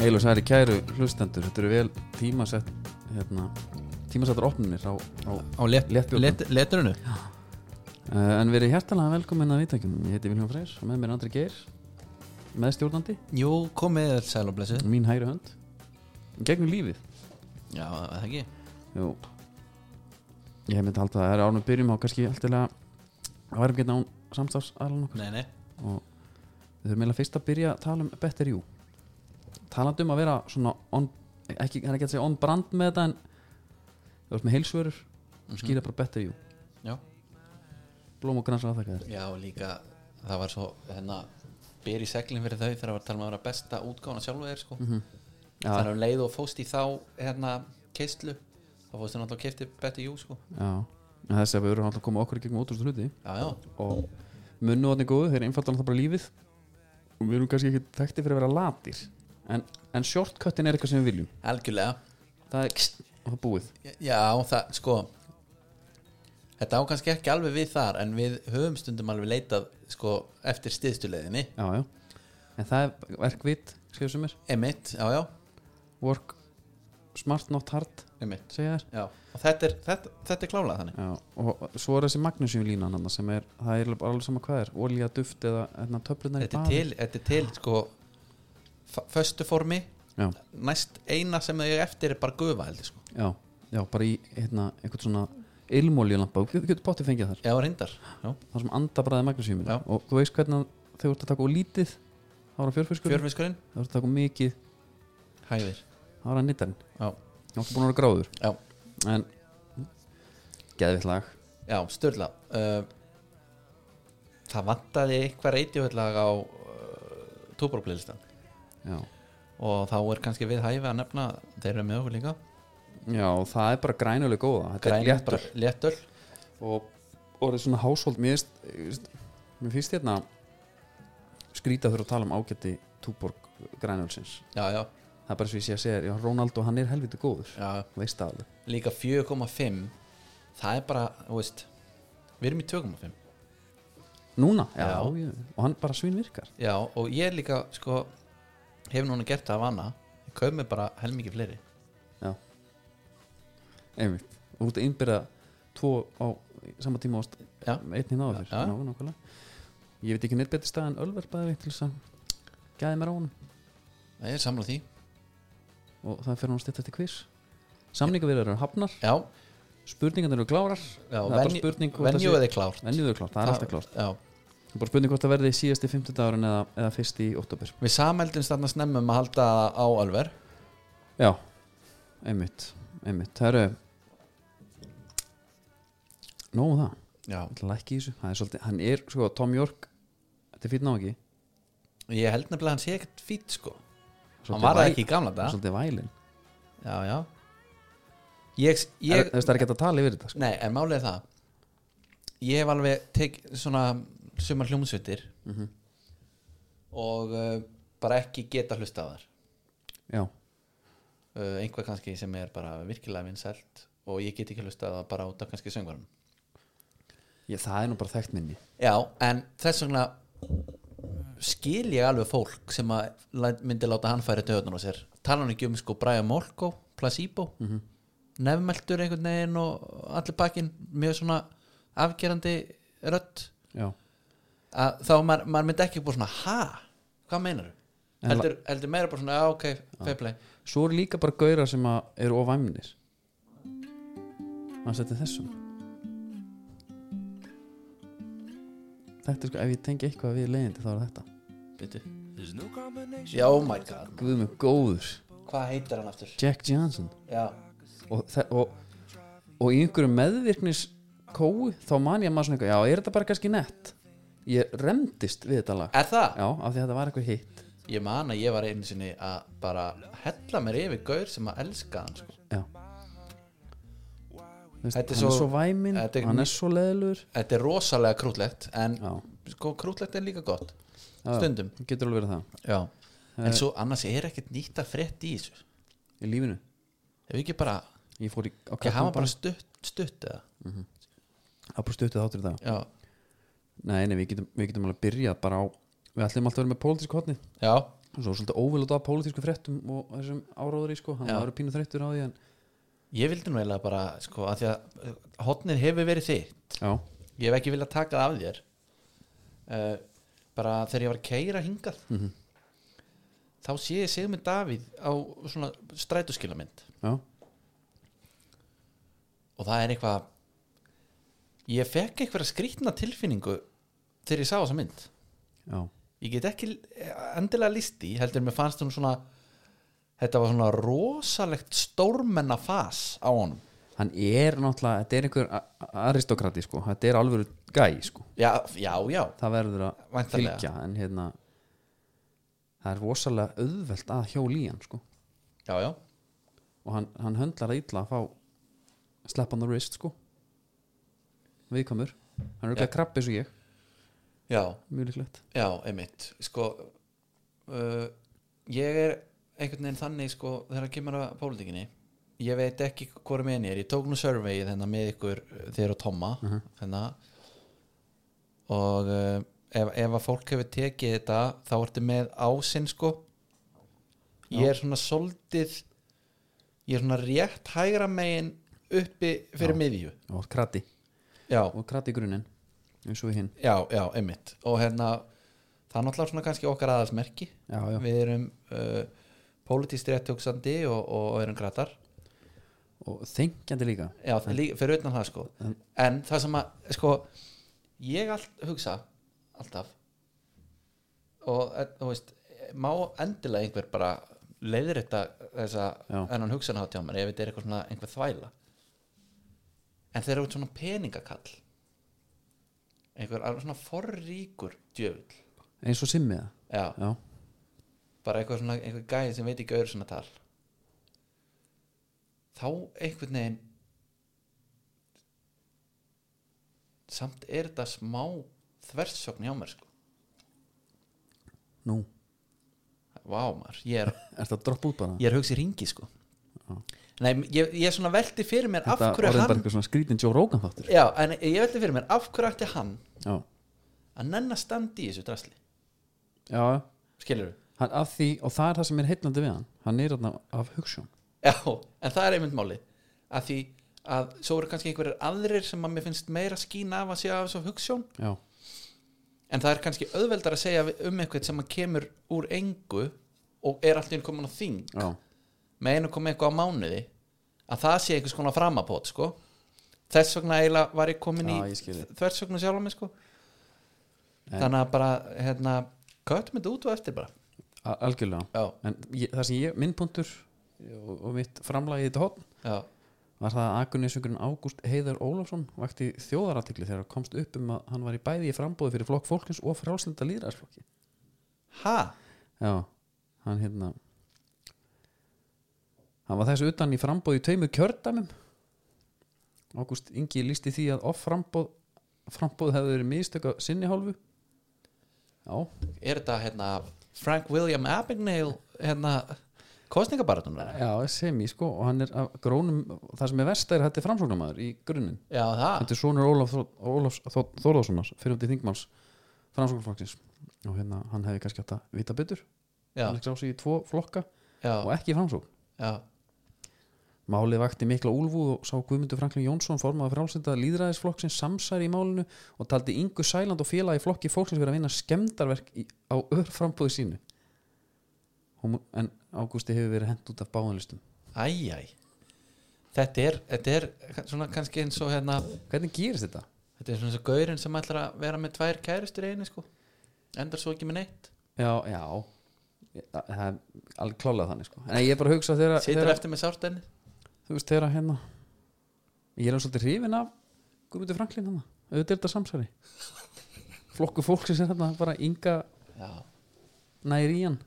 Heil og særi kæru hlustendur, þetta eru vel tímasett hérna, tímasettar opnumir á, á, á let, let, Léttbjórnum. letrunu uh, en verið hjertalega velkomin að viðtækjum ég heiti Viljón Freyr og með mér er Andri Geir meðstjórnandi, Jú, komið þér sæl og blessu mín hægri hönd gegnum lífið Já, er það ekki Jú. ég hef myndi haldið að það er ánum byrjum á kannski alltilega að værum getna án samstafs aðlan okkur Nei, nei og við þurfum eiginlega fyrst að byrja að tala um Better You talandi um að vera svona on, ekki, það er ekki að segja on brand með þetta en þú veist með heilsvörur Mhm. skýra bara Better You Já, blóm og grænsar aðþakka þér Já og líka það var svo hérna ber í seglinn fyrir þau þegar það var að tala um að vera besta útgána sjálfu þeir sko Já. Það er um leið og fóst í þá hérna keistlu þá fóst þau náttúrulega kefti betur jú sko já, en þessi að við erum alltaf að koma okkur í gegnum ótrústu hluti Já, já, og munnu átni góðu, þeir einfaldan alltaf bara lífið og við erum kannski ekki þekkti fyrir að vera latir en, en shortcutin er eitthvað sem við viljum algjörlega það er og það er búið Já, það sko Þetta á kannski ekki alveg við þar en við höfum stundum alveg leitað sko eftir stiðstuleiðinni já, já. en það er verkvit, skrifum sem er Emitt, já, já, work smart not hard, emitt segja þér Já, og þetta er, þetta, þetta er klárlega þannig Já, og svo er þessi magnesium línan hann sem er, það er bara alveg sama hvað er olja, duft eða hérna, töflunar þetta er, til, þetta er til sko f- föstu formi Já, næst eina sem þau eiga eftir er bara gufa heldur sko, já, já, bara í hérna, einhvern svona ilmóljulampa og getur bótti fengið þar, já reyndar já. það sem andabræði magnesium Já. og þú veist hvernig að þau ert að taka og lítið þá er það fjörfiskur, fjörfiskurinn, þá ert að taka of mikið hæðir þá er það nýttarinn, já, þá ertu búin að vera gráður já, en geðvitt lag já störla uh, það vantaði eitthvað reytjóðlag á uh, túborplaylistan já. og þá er kannski við hæfi að nefna þeir eru með okkur líka já, og það er bara grænuleg góða þetta er léttur léttöl og orðið svona háshold mér, finnst- ég veist- mér finnst hérna skrýta þurfa að tala um ágætti túborg grænölsins já, já, það er bara svo ég sé að segja, þér, já Ronaldo hann er helviti góður já, veist það alveg líka 4,5 það er bara, þú veist við erum í 2,5 núna, já, Já. Ég, og hann bara svín virkar Já, og ég líka, sko hef núna gert það að vana ég kaup mér bara helmingi fleiri já einmitt, og út að innbyrða tvo á sama tíma ást Já. einn hinn áður Já. Ná, nákvæmlega. ég veit ekki neitt betri stað en Ölver bæði veit til þess að gæði mér á honum Nei, ég er samla því og það fer hann stýtt eftir quiz samninga við eru hafnar Já, spurningarnir eru klárar já það er bara spurning hvort það sé- Venjuð er klárt venjuð er klárt, það er alltaf klárt Já, það er bara spurning hvort það verði síðasti 50 dagurinn eða, eða fyrst í oktober við sameldumst þarna snemmum að halda á alver já, einmitt, einmitt það eru nógu um það, Já, ég ætla ekki í þessu það er svolítið, hann er, sko, Tom York þetta er fýtt náðu ekki ég held nefnilega að hann sé ekkert fýtt, sko Hann Svolítið var það væl- ekki í gamla dag svolítið vælin, Já, já Ég, ég... er, ég, það er ekki hægt að tala yfir þetta sko. Nei, en málið er það Ég hef alveg tek svona sumar hljómsveitir og uh, bara ekki geta hlusta á þær já, uh, einhvað kannski sem er bara virkilega vinsælt og ég get ekki hlusta það bara út af kannski söngvarum ég, það er nú bara þekkt minni Já, en þess vegna skil ég alveg fólk sem að læt- myndi láta hann færi döðnur á sér tala hann ekki um sko Brian Molko Placebo, mm nefnmeltur einhvern veginn og allir bakinn mjög svona afgerandi rödd já, að þá maður, maður myndi ekki búið svona ha, hvað meinar En heldur, heldur meira bara svona, já ok, feibleg svo eru líka bara gaurar sem að eru ofæmnir maður setja þessum þetta er sko ef ég tengi eitthvað við leiðindi þá er þetta Bittu. já, oh my god Guð með góður, hvað heitir hann aftur Jack Johnson já, og, þe- og, og í einhverju meðvirknis kói þá man ég að maður svona eitthvað já, er þetta bara kannski nett ég remdist við þetta lag er það? já, af því að þetta var eitthvað hitt ég man að ég var einu sinni að bara hella mér yfir gaur sem að elska hann sko. já Þú Veist, hann Þetta er er svo- svo væminn, þetta er- hann er svo leðlur þetta er rosalega krútlegt en Já. sko krútlegt er líka gott Já, já. stundum getur alveg verið það já. Eh. en svo annars er ekkert nýtt að frétt í þessu í lífinu ef ekki bara, ég fór í á ekki hafa kaffibarinn. bara stutt, stutt eða, Það er bara stuttið þáttur í dag já, Nei, nei, við getum, við getum alveg að byrja bara á Við ætlum alltaf að vera með pólitísk hotni já og svo svolítið óvild á pólitísku fréttum og þessum áráður í sko hann Já. var pínu þreyttur á því en ég vildi nú eiginlega bara sko, að því að eh, hotnið hefur verið þitt já, ég hef ekki viljað taka það af þér uh, bara þegar ég var að keira hingað Mhm. þá sé ég Sigmund Davíð á svona strætuskilamynd já, og það er eitthvað ég fekk eitthvað skrýtna tilfinningu þegar ég sá þessa mynd já, ég get ekki endilega listi heldur mér fannst hún svona þetta var svona rosalegt stórmenna fas á honum hann er náttúrulega þetta er einhver a- a- aristokrati sko þetta er alvöru gæ sko já, já, já, það verður að Væntanlega. fylgja en hérna það er rosalega auðvelt að hjóla í hann sko já, já og hann, hann höndlar það illa að fá slap on the wrist sko viðkomur hann er auðvitað krabbi eins og ég já, mjög líklegt Já, einmitt sko, uh, ég er einhvern veginn þannig sko, þegar að kemur að pólitíkinni ég veit ekki hvora með henni er ég tók nú survey þennan með ykkur uh, þér og Tomma uh og uh, ef, ef að fólk hefur tekið þetta þá ertu með ásinn sko ég er svona soldið ég er svona rétt hægra megin uppi fyrir miðju og krati já, og krati í grunin eins og við hinn já, já, einmitt og hérna, það er náttúrulega svona kannski okkar aðalsmerki já, já. við erum uh, pólitískt réttjóksandi og, og, og erum kratar og þengjandi líka já, það er líka, fyrir utan það sko en það sem að sko, ég allt, hugsa alltaf og eh, þú veist má endilega einhver bara leiðir þetta þessa Já. ennan hugsanhátt hjá mér ef þetta er eitthvað svona einhver þvæla en þeir eru út svona peningakall einhver alveg svona forríkur djöfull eins og simmiða já, já, bara eitthvað svona einhver gæði sem veit ekki öðru svona tal þá einhvern veginn samt er þetta smá þversögn hjá mér sko nú, vá maður, ég er, er þetta að droppa út bara ég er hugsi ringi sko nei, ég, ég svona velti fyrir mér þetta af hverju orðið bara hann eitthvað svona skrítin Joe Rogan þáttur já, en ég velti fyrir mér af hverju ætti hann já, að nenn að standa í þessu drasli já, já. skilur hann, af því, og það er það sem er heillandi við hann hann er þarna af hugsun Já, en það er einmitt máli að því að svo eru kannski einhverjar aðrir sem að mér finnst meira skína af að sé af þessu hugssjón já, en það er kannski auðveldar að segja um eitthvað sem að kemur úr engu og er alltaf komin á þing já, með einu komið eitthvað á mánuði að það sé einhvers konar framapót sko. þess vegna eiginlega var ég komin Já, ég í skil þig. þversögnu sjálf mig sko. En- þannig að bara hérna, köttum þetta út og eftir bara a- algjörlega já, en ég, það sem ég, minn punktur og, og mitt framlagi í þetta hotn já, var það að Akunisungurinn Ágúst Heiðar Ólafsson vakti þjóðaratikli þegar hann komst upp um að hann var í bæði í frambóði fyrir flokk fólkins og frálslinda líðræðsflokki ha já, hann hérna hann var þessu utan í frambóði í tveimur kjördæmum Ágúst Ingi lísti því að off frambóð frambóð hefði verið mistök að sinni hálfu já, er þetta hérna, Frank William Abagnale hérna, kostningabaratunar já, sem í sko og hann er af grónum, það sem er versta er að þetta er framsóknarmaður í grunninn já, það Þetta er sonur Ólaf, Þór- Ólafs Þór- Þórðarssonar fyrirhundi þingmanns framsóknarflokksins og hérna hann hefði kannski átt að vita betur já, hann sá sig í tvo flokka og já, ekki í framsókn já, Málið vakti mikla úlfúð og sá Guðmundur Franklin Jónsson formaða frálsenda líðræðisflokksins samsæri í málinu og taldi Ingu Sæland og félagi flokki fólksins verið að vinna skemmdarverk í, á örframbúði sínu Hún- en Ágústi hefur verið hent út af báðanlistum æj, æj þetta er, þetta er svona kannski eins og hérna Hvernig gerist þetta? þetta er svona eins og gaurinn sem ætlar að vera með tvær kæristur í einu sko endar svo ekki með neitt, Já, já Þa- það er alveg klálað þannig sko. en ég er bara að hugsa þegar situr þegar- eftir með sárt enni þú veist þegar að hérna ég er alveg svolítið hrifin af Guðmundur Franklin hann auðvitað er þetta samsæri flokku fólksins er hérna bara Inga já, nær í hann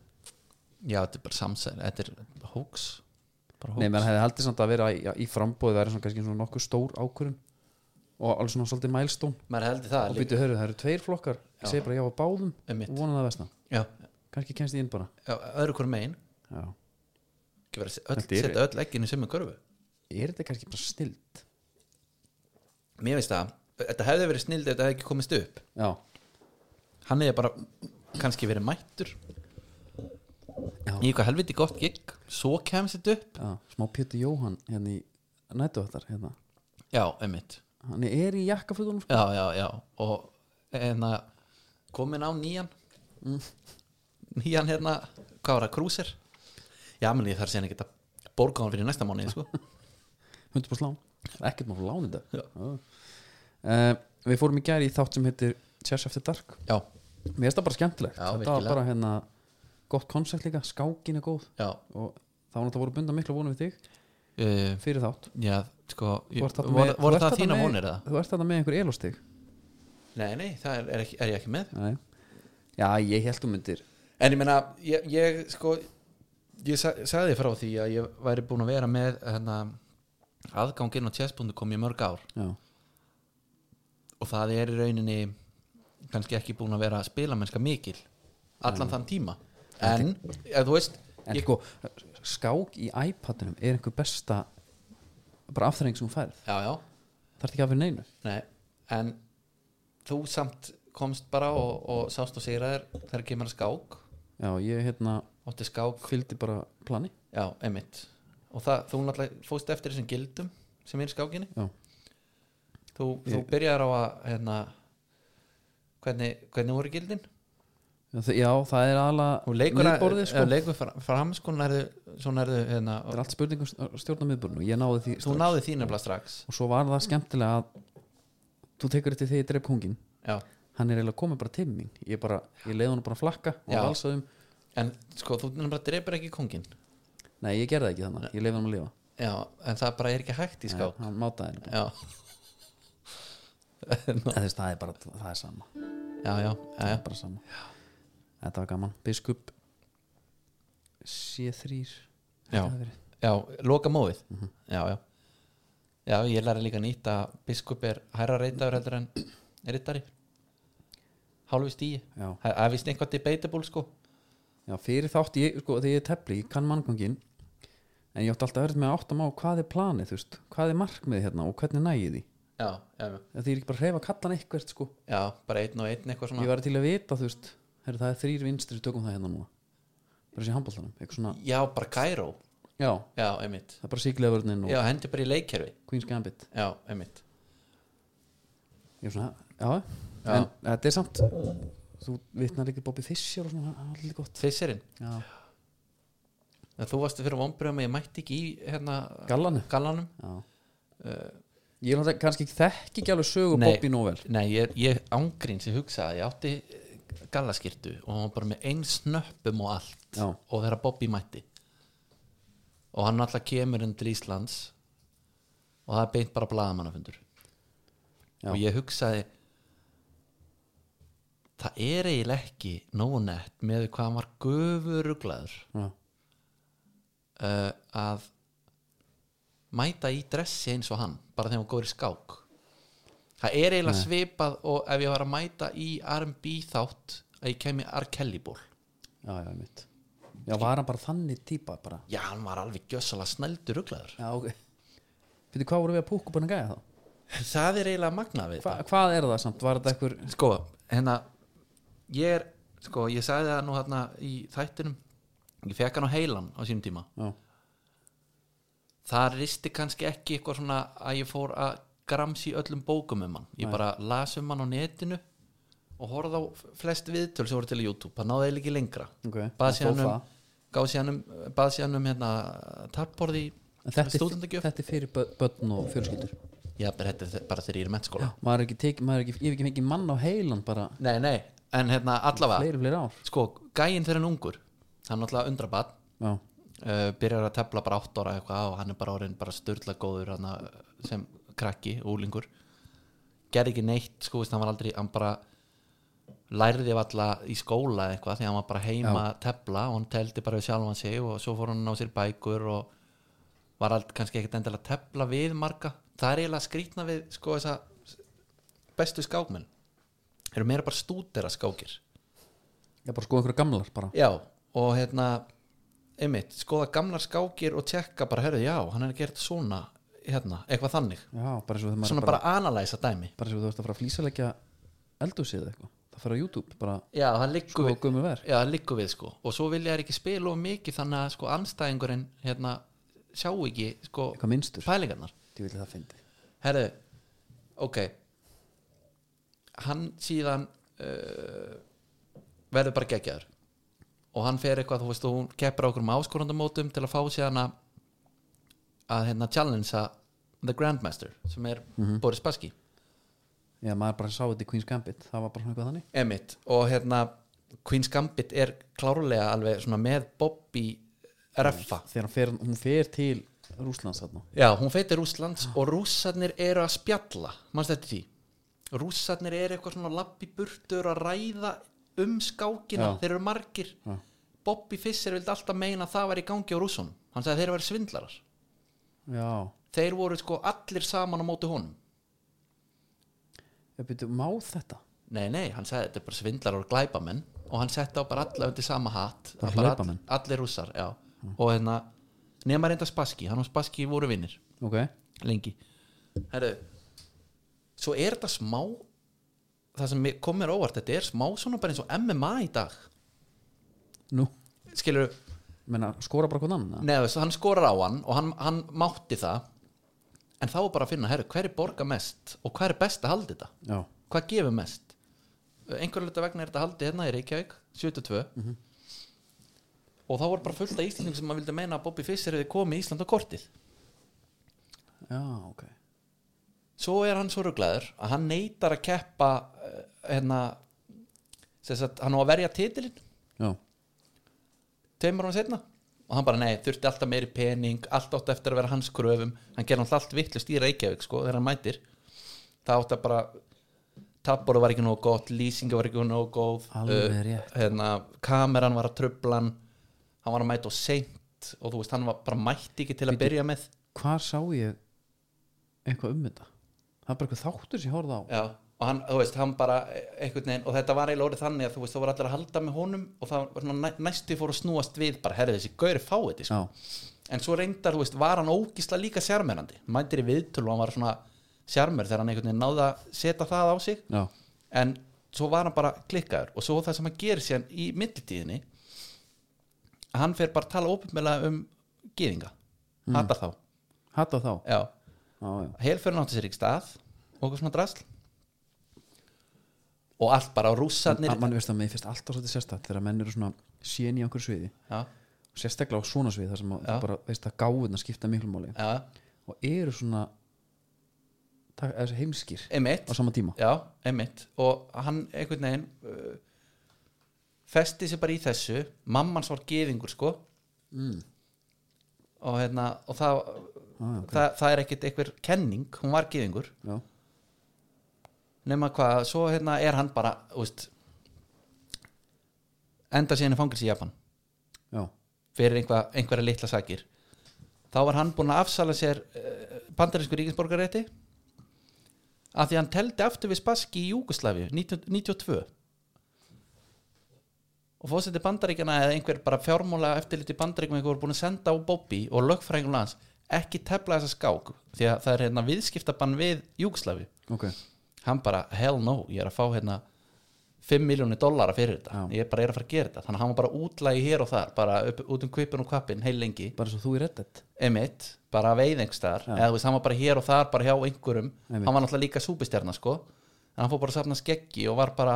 já, þetta er bara samsæri þetta er hoax bara nei, hoax, menn hefði haldið samt að vera í, í frambóði það er svona kannski svona nokkuð stór ákvörun og alveg svona svolítið mælstón maður heldur það og líka býtu hörðu, það eru tveir flokkar Já. ég segi bara já á báðum Einmitt. og vona það vestan já, kannski kemst ég inn bara já, öðru hver megin já. ekki vera að se- öll, Þetta er- setja öll egginu sem er körfu er þetta kannski bara snild mér veist það, þetta hefði verið snild ef þetta hefði ekki komist upp já, hann hefði bara kannski verið mættur Já. í eitthvað helviti gott gig svo kemst þetta upp Já, smá Pétur Jóhann hérna í nætuvættar hérna. já, einmitt hann er í jakkafötunum sko. já, já, já og hérna komin á nýjan Mm. nýjan hérna, hvað var það, krúsir já, menn ég þarf síðan ekki að borga hann fyrir næsta mánu sko. 100% lán, Það er ekkert maður lán í dag Já. uh, Við fórum í gæri í þátt sem heitir Chess After Dark já, Mér finnst það bara skemmtilegt Já, Þetta var virkilega. bara hérna gott konsept líka, skákin er góð já og þá var þetta voru bunda miklu vonum við þig uh, fyrir þátt já, sko Þú ég, ert þarna voru, með- þú voru ert það þarna þína með- vonir eða? Þú ert þetta með einhver elostig nei, nei, það er, er, ekki, er ég ekki með Nei. Já, ég held um myndir En ég meina, ég, ég sko ég sa sagði frá því að ég væri búin að vera með hérna, aðganginn á chess.com í mörg ár Já, og það er í rauninni kannski ekki búin að vera spilamennska mikil allan þann tíma en, ef þú veist en ég, sko, skák í iPadinum er einhver besta bara afþreng sem hún færð já, já, Það ert ekki að fyrir neinu nei en þú samt komst bara og, og sást og sigraðir þegar kemur að skák Já, ég hérna átti skák, fylgdi bara plani já, emitt og það, þú náttúrulega fóst eftir þessum gildum sem er í skákinni Já, þú, þú Ég- byrjar á að hérna, hvernig, hvernig voru gildin já, þa- já það er þú aðalega leikur, að, miðborðið, sko. sko. leikur fram, fram sko, nærðu, svo nærðu hérna, Það er allt um spurningum stjórna miðbörnu Ég náði því þú strax. náði þín nefnilega strax Og svo var það skemmtilega að þú tekur eftir því ég dreif kongin já. Hann er eiginlega komið bara til mín Ég, bara, ég leiði hann bara að flakka og Já. valsaðum en sko, þú nefnilega drepur ekki kongin Nei, ég gerði það ekki þannig, ég leiði hann að lifa já, en það bara er ekki hægt í skák Nei, Hann mátaði henni bara. já. En þess, það er bara, það er sama já, já, já, Það já er bara sama Þetta var gaman Biskup C3 Já. já, loka móið já, já já, ég læri líka nýtt að biskup er hærra reytaður heldur en reytari hálfu stíi Já. það það er vist einhvað debatable sko Já, fyrir þátt ég, sko, þegar ég er tefli, ég kann manngangin en ég átti alltaf öðruð með að átta má hvað er planið, þú veist, hvað er markmið hérna og hvernig nægið því, já, já, já það er ekki bara að hreyfa kallan eitthvert, sko, Já, bara einn og einn eitthvað svona ég var til að vita, þú veist herri, það er þrýr vinstri, tökum það hérna núna bara þessi handbóltanum, eitthvað svona Já, bara Cairo já, Já, einmitt það er bara síkleðvörnin og Já, hendi bara í leikkerfi Queen's Gambit Já, einmitt ég var svona, já, Já. en þetta er samt þú vitnar líka Bobby Fischer og svona, það er allir gott Fisirinn, já, En þú varstu fyrir vombriðum að ég mætti ekki í hérna gallanu gallanum já. Eh, ég er náttúrulega kannski ekki þekki ekki alveg sögu Nei. Bobby Novel Nei, ég, ég ángríns, ég hugsaði að ég átti gallaskirtu og hann var bara með einn snöppum og allt Já. og þegar Bobby mætti og hann alltaf kemur inn til Íslands og það er beint bara blaðamannafundur Já. og ég hugsaði það er eiginlega ekki nógu nett með hvað hann var gufuruglaður já, uh, að mæta í dressi eins og hann bara þegar hann góður í skák það er eiginlega svipað og ef ég var að mæta í R&B þátt að ég kemi R. Kelly ból já, já, mitt já, var hann bara þannig típa bara já, hann var alveg gjössalega snældur ruglaður Já, ok Fyrir hvað vorum við að púka búin að gæja þá? það er eiginlega magnað við Hva, hvað er það samt? Var þetta einhver þetta sko, hérna ég er, sko, ég sagði það nú hérna í þættinum ég fekk hann á heilan á sínum tíma Já, það risti kannski ekki eitthvað svona að ég fór að gramsi öllum bókum um hann ég bara las um hann á netinu og horfði á flest viðtöl sem voru til á YouTube það náði eiginlega ekki lengra ok bað það síðan stóð um, gáð síðan um, bað síðan um hérna, tapporði það. En þetta, er- stúdendagjöf þetta er fyrir bö- börn og fjölskyldur já, bara þetta er bara þegar ég er í mennskóla Maður er ekki tekið, maður er ekki, ég hef ekki mikið mann á heilan bara nei, nei, en hérna allavega fleiri, fleiri ár sko, gæinn þegar hann er ungur hann er náttúrulega undrabatt Já, uh, byrjar að tefla bara 8 ára eitthvað og hann er bara orðin bara störla góður hana, sem krakki, úlingur gerði ekki neitt sko, veist, hann var aldrei, hann bara lærði valla í skóla eða eitthvað því hann var bara heima að tefla og hann teldi bara við sjálfan sig og svo fór hann á sér bækur og var allt kannski ekkert endilega að tefla við marga það er eiginlega skrýtna við sko þessa bestu skákmenn eru meira bara stúdera skákir ég bara sko einhverja gamlar bara Já, og hérna einmitt, skoða gamlar skákir og tjekka bara, herðu, já, hann er að gera þetta svona hérna, eitthvað þannig Já, bara eins og þegar maður svona er bara, bara, bara analæsa dæmi bara eins og þú veist að fara að flýsalegja eldhúsið eða eitthvað Það fara á YouTube bara já, það liggur sko við gömur verk já, það liggur við sko og svo vilja þær ekki spila of mikið þannig að sko anstæðingurinn hérna sjá ekki sko eitthvað minnstur, pælingarnar ég vil það fyndi herðu, ok hann síðan uh, verður bara geggjaður og hann fer eitthvað, þú veist, og hún keppir á okkur um áskorundamótum til að fá síðan að að hérna challengea The Grandmaster sem er Boris Baski já, maður bara sá þetta í Queen's Gambit það var bara svona eitthvað þannig Emmett og hérna Queen's Gambit er klárlega alveg svona með Bobby Reffa þegar hún fer, hún fer til Rúslands þarna Já, hún feitir Rússlands og rússarnir eru að spjalla mannst þetta því rússarnir eru eitthvað svona lappi burtur að ræða um skákina Já. þeir eru margir Já. Bobby Fischer vildi alltaf meina að það var í gangi á rússunum hann sagði að þeir eru svindlarar já, þeir voru sko allir saman á móti honum ég byrju, má þetta nei, nei, hann sagði þetta er bara svindlarar og glæpamenn og hann setti á bara alla undir sama hatt Bara Að bara all- glæpamenn? allir rússar, já og hérna, nema reynda Spassky hann og Spassky voru vinnir ok, lengi Herru, svo er þetta smá það sem mér- kom mér á óvart þetta er smá svona bara eins og MMA í dag nú skilur, menna, skora bara hvort annan eða? neðu, hann skorar á hann og hann, hann mátti það en þá er bara að finna, herru, hver er borga mest og hver er best að halda þetta já, hvað gefur mest einhverju hluta vegna er þetta haldið hérna í Reykjavík 72 og þá voru bara fullt af Íslanding sem maður vildi meina að Bobby Fischer hefði komið Ísland á kortið já, ok svo er hann svo ruglaður að hann neytar að keppa eh, hérna sem sagt, hann á að verja titilin já, tveimur hann setna og hann bara nei, þurfti alltaf meiri pening allt átt eftir að vera hans kröfum hann gerði alltaf allt vittlust í Reykjavík sko þegar hann mætir það átt að bara tapboru var ekki nógu gott, lýsingi var ekki nógu góð Alveg eh, rétt. hérna, kameran var að trubla hann hann var að mæta og seint og þú veist, hann var bara mætti ekki til að Bíddu. byrja með hvar sá ég eitthvað um þetta það er bara eitthvað þáttur sem ég horfði á Já, og hann, þú veist, hann bara eh, einhvern veginn, og þetta var eiginlega orðið þannig að þú veist, þá voru allir að halda með honum og það var svona næ- næstu fór að snúast við bara, herri þessi, gauri fá þetta, sko. já, en svo reyndar, þú veist, var hann ógísla líka sjarmerandi, Hann mætir í viðtölu og hann var svona sjarmer þegar hann einhvern veginn náði að setja það á sig, já, en svo var hann bara klikkaður og svo það sem hann gerir síðan í millitíðinni hann fer bara að tala opinmjöla um gýðinga, hattar þá hata þá Já, já, já, helförin átti sér ekki stað og eitthvað svona drasl og allt bara á rússarnir að mann veist að mér finnst alltaf svolítið sérstætt þegar menn eru svona sén í okkur sviði já, og sérstaklega á svona sviði þar sem að Já. þú bara veist að gáðuna skipta miklu máli já, og eru svona tak, er heimskir á einmitt sama tíma já, einmitt og hann einhvern veginn uh, festi sér bara í þessu mammans var gefingur sko mm. og, hérna, og það, já, Ah, já, ok. það, það er ekkert einhver kenning, hún var gefingur já, nema hvað, svo hérna er hann bara úst, enda síðan í fangilsi í Japan já, fyrir einhva, einhverja litla sakir þá var hann búinn að afsala sér uh, bandarinsku ríkinsborgarétti af því að hann teldi aftur við Spassky í Júgoslavíu 1992 og fórseti bandaríkjana eða einhver bara fjármóla eftirliti bandaríkjum einhver voru búin að senda á Bobby og lögfræðingum lands ekki tefla þessa skák því að það er hérna viðskiptabann við Júgoslavíu ok hann bara hell no, ég er að fá hérna 5 miljónir dollara fyrir þetta Já. ég bara er að fara að gera þetta, þannig að hann var bara útlægi hér og þar, bara upp, út um kvipin og kvapin heil lengi, bara svo þú í reddit emitt bara veiðengstar, Já. eða þú veist, hann var bara hér og þar bara hjá einhverjum, Einmitt. hann var náttúrulega líka súpistjarna sko, en hann fór bara að safna skeggi og var bara,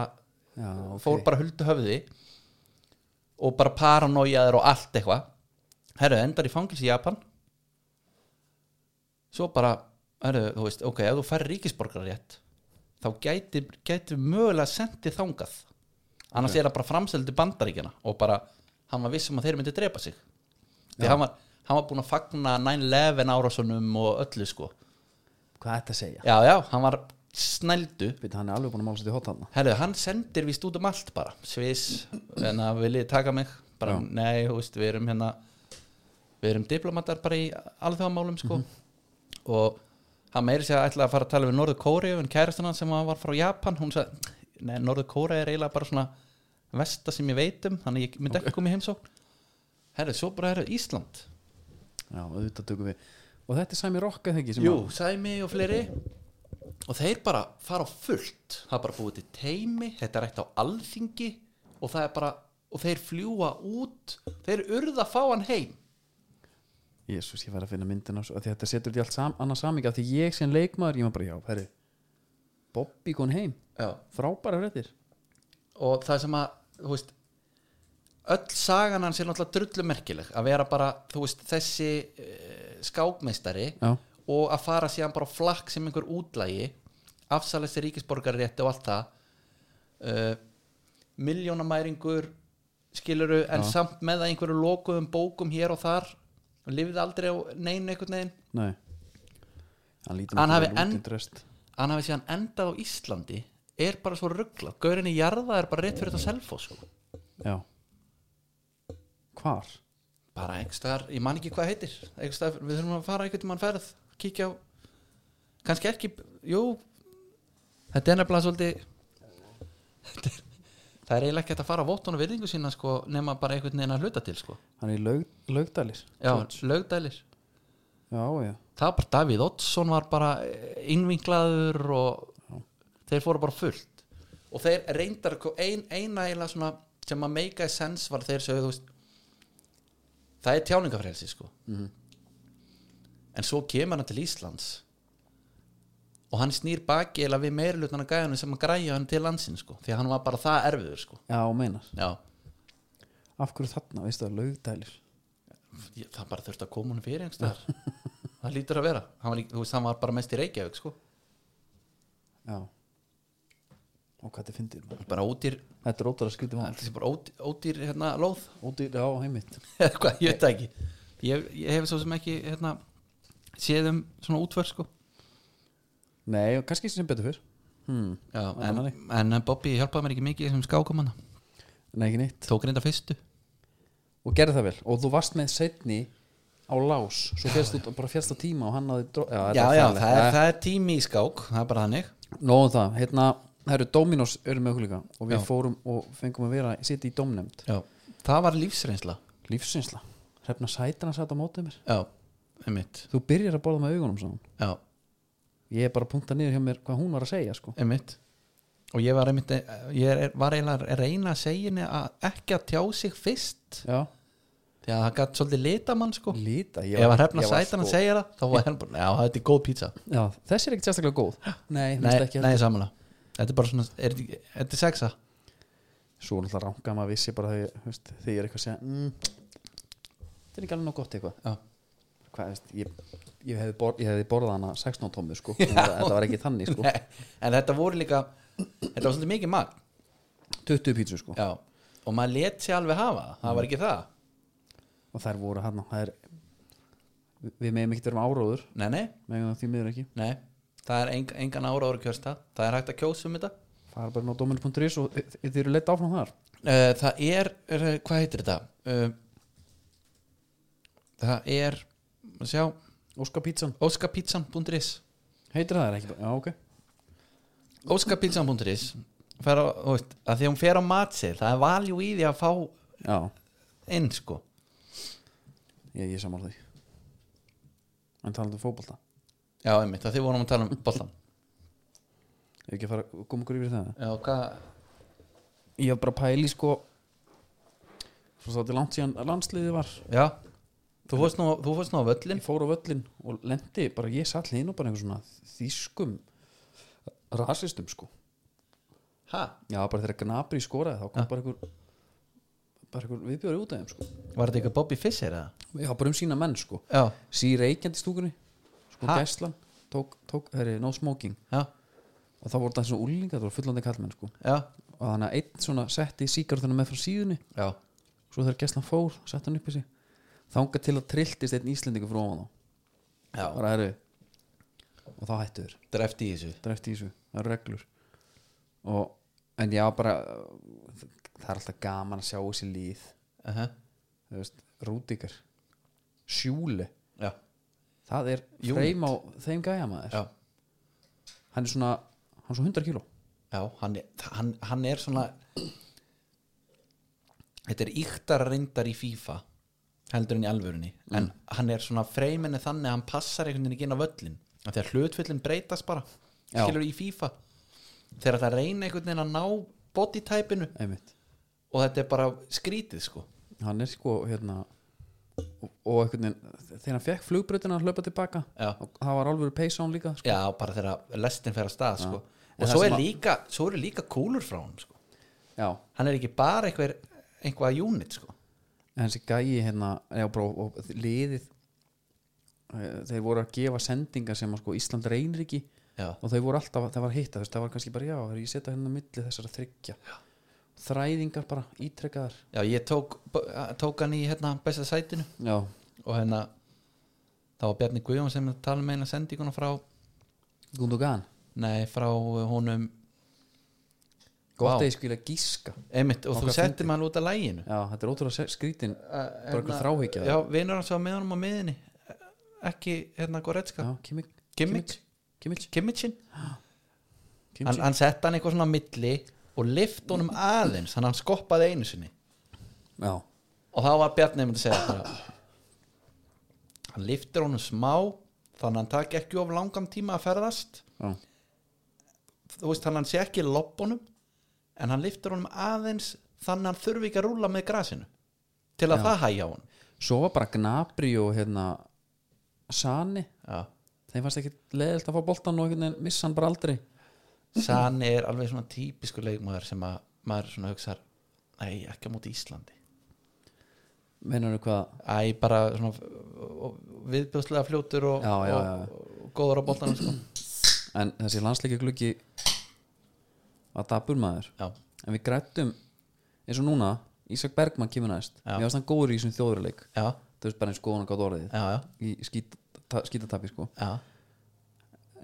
já, ok fór bara huldu höfði og bara paranoiaður og allt eitthvað herru, endar í fangilsi í Japan svo bara herru, þú veist, ok, ef þú fær ríkisborgararétt þá gæti, gæti mögulega sendið þangað annars er það bara framseldi bandaríkjana og bara, hann var vissum að þeir myndi drepa sig því hann var, hann var búin að fagna 9-11 árásunum og öllu sko hvað þetta segja já, já, hann var snældu Bíddu, hann er alveg búin að mála sér til hotanna Herðu, hann sendir víst út um allt bara Sviss, en að viljið taka mig bara, Já. nei, þú veist, við erum hérna við erum diplomatar bara í alþjóðamálum, sko og hann meiri sér að ætla að fara að tala við Norður Kóriu, en kærastuna sem hann var frá Japan, hún sagði, nei, Norður Kóriu er eiginlega bara svona vesta sem ég veit um, þannig ég myndi ekki koma í heimsókn Herðu, svo bara herðu Ísland já, auðvitað tökum við og þetta er Sæmi Rokka þegar ekki sem Jú, Sæmi og fleiri og þeir bara fara á fullt það er bara búið til teimi, þetta er ætti á alþingi og það er bara og þeir fljúa út þeir urða að fá hann heim Jésús, ég var að finna myndina af því þetta setur því allt sam, annað saming af því ég sem leikmaður, ég var bara, já, herri Bobby kon heim, Já. frábæra fréttir og það sem að þú veist, öll sagan hans er náttúrulega drullu merkileg að vera bara þú veist, þessi uh, skákmeistari Já, og að fara síðan bara á flakk sem einhver útlægi afsalessi ríkisborgarrétti og allt það uh, miljónamæringur skiluru en samt með að einhverju lokuðum bókum hér og þar og lifið aldrei á neinu einhvern veginn nei Hann lítur Hann nú hafi vel út enn- í drest. hann hafi síðan endað á Íslandi er bara svo ruggla, gaurinni jarða er bara rétt fyrir þetta selfos sko. Já Hvar? bara einhverstaðar, ég man ekki hvað heitir einhverstaðar, við þurfum að fara einhvern mann ferð kíkja á, kannski ekki jú þetta er nefnilega svolítið Þetta er- það er eiginlega ekki hægt að fara að vottunum virðingu sína sko, nema bara einhvern veginn að hluta til sko. Hann er í laug, laugdælis já, George. lögdælir já, já það var bara Davíð Oddsson var bara eh, innvinklaður og þeir fóru bara fullt og þeir reyndar ein, eina eiginlega svona sem að make a sense var þeir sögðu þú veist, það er tjáningafrelsi sko en svo kemur hann til Íslands og hann snýr baki eða við meirlutan að gæjanum sem að græja hann til landsin sko, því að hann var bara það erfiður sko Já, meinar já, Af hverju þarna, veistu það, laugdælis Ég- það bara þurfti að koma hann fyrir einhverstaðar það lítur að vera, hann var, í- þú veist, hann var bara mest í Reykjavík sko Já Og hvað þetta fyndir maður bara ódýr Þetta er ótrúlega skrítið Það er mál þessi bara ódýr, ódýr hérna, lóð Ódýr, já, heimitt eða hvað, ég veit það ekki ég, ég hef svo sem ekki hérna, séð um svona útvör sko. Nei, og kannski sem betur fyrr hmm. Já, en, Annarri. en Bobby hjálpaði mér ekki mikið sem skákamanna, Nei, ekki neitt tók reynda fyrstu Og gerði það vel Og þú varst með setni á lás Svo fjast þú bara fjast á tíma og hann hafði dró... það er tími í skák það er bara þannig Nóðum það, hérna Það eru Dominos eru með okkur líka Og við Já. fórum og fengum að vera Sitt í domnefnd Já. það var lífsreynsla Lífsinsla Hrefna sætana satt á mótið mér Já, einmitt Þú byrjar að borða með augunum svo Já, Ég er bara að punta niður hjá mér hvað hún var að segja sko. einmitt og ég var einmitt ég er, var eiginlega að reyna að segja henni að ekki að tjá sig fyrst Já, því að það gætt svolítið litamann sko líta ef að hrefna sætan að segja það þá var henni bara, já þetta er góð pizza sko- Já, þessi er ekkert sérstaklega góð Nei, nei, Nei, ekki nei samanlega Þetta er bara svona, er þetta ekki- þetta er sexa Svo náttúrulega ranga maður vissi bara þegar, veist, þegar ég er eitthvað að segja mm, Þetta er ekki alveg nóg gott eitthvað Já. Hvað, veist, ég, ég, hefði bor, ég hefði borðað hana 16 tómmu sko. En Þetta var ekki þannig sko. Nei, En þetta voru líka Þetta var svolítið mikið magn 20 pítsu sko. Já. Og maður let sér alveg hafa það, það var ekki það Og þær voru hann er, við- Við meðum ekkert erum áróður Nei, nei, Meðum því miður ekki nei Það er eng, engan ára ára kjörsta Það er hægt að kjósa um þetta fara bara inn á dominu.is og þi- þið eru leitt áfram þar Eh, Það er, er hvað heitir þetta? Eh, Það er að sjá, Óska pítsan, óskapítsan.is heitir það er ekki bara- já ok Óskapítsan.is Fær á, þú veist, að því að hún fer á matsil það er valjú í því að fá já, inn sko ég, ég samála því en talandi um fótbolta Já, einmitt, það þið vorum að tala um boltan Eigum ekki að fara að koma okkur yfir það Já, hvað ég var bara að pæli sko svo það er langt síðan að landsliðið var Já, þú fórst nú, þú fórst nú á völlin ég fór á völlin og lendi bara ég satt hlýðin og bara einhver svona þýskum rasistum sko Hæ? já bara þegar Gnabri skoraði þá kom bara einhver bara einhver viðbjóri út af þeim sko Var þetta eitthvað Bobby Fischer eða? já bara um sína menn sko Já, sír reykjandi í stúkunni sko Ha? gæslan tók, tók herri, no smoking já, og þá voru það svona úlingar, það voru fullandi kallmenn sko. já og þannig að einn svona setti síkartuna með frá síðunni Já, svo þegar gæslan fór, setti hann upp í sig þangað til að trilltist einn íslendingu frá hann já bara eru og þá hættu þér, Dreft í þessu það er eftir þessu það eru reglur og, en já bara það er alltaf gaman að sjá þessi líð uh -huh. þú veist, rúdikar sjúle, Já, það er Unit. freim á þeim gæja maður já, hann er svona hann er svona 100 kíló já hann, er, hann, hann er svona Þetta er yktar reyndar í FIFA heldur en í alvörunni en hann er svona freyminni þannig að hann passar einhvern veginn ekki inn á völlin af því að hlutfyllin breytast bara Já. skilur í FIFA þegar það reyna einhvern veginn að ná bodytypinu einmitt og þetta er bara skrítið sko hann er sko hérna og, og einhvern veginn þegar hann fekk flugbrutina að hlaupa tilbaka Já. og það var alveg peysa hann líka sko. já, bara þegar lestin fer að stað sko. En og það svo, sem er að- líka, svo eru líka kúlur frá hann sko. já, hann er ekki bara einhver, einhvað unit sko. en þessi gæi hérna já, bró, og liðið eh, þeir voru að gefa sendingar sem að sko Ísland reynir ekki já, og þeir voru alltaf, það var hitta það var kannski bara, já, ég setja hérna á milli þessara þryggja þræðingar bara, ítrekkaðar já, ég tók, tók hann í hérna, besta sætinu já, og hérna það var Bjarni Guðjón sem tala með eina sendinguna frá Gundogan nei, frá honum gott Vá. að ég skilja gíska einmitt, og Okkar þú settir fyndið. maður út af læginu já, þetta er ótrúlega se- skrítin bara einhver þráhyggja. já, vinur hans var með honum á miðinni ekki hérna Goretzka já, Kimmich Kimmich Kimmich, Kimmichin, hann, Kimmich. hann sett hann eitthvað svona á milli og lift honum aðeins þannig að hann skoppaði einu sinni já, og þá var Bjarni einmitt að segja bara, hann liftir honum smá þannig að hann taki ekki of langan tíma að ferðast já, þú veist þannig að hann sé ekki loppunum en hann liftir honum aðeins þannig að hann þurfi ekki að rúla með grasinu til að það hægja á hann svo var bara Gnabry og hérna Sani, já. þeim fannst ekki leðilt að fá boltan og einhvern veginn missa hann bara aldrei Sani er alveg svona típisku leikmaður sem að maður svona hugsar nei, ekki á móti Íslandi meinar þú hvað æ, bara svona uh, viðbjóðslega fljótur og, Já, já, já. og, og góður á boltanum sko. en þessi landsleikja gluggi var dabur maður já, en við grættum eins og núna, Ísak Bergmann kemur næst Já. mér varst hann góður í þessum þjóðurleik já, það er bara eins góðan og gátt orðið já, já, í skít, ta, skítatapi sko já.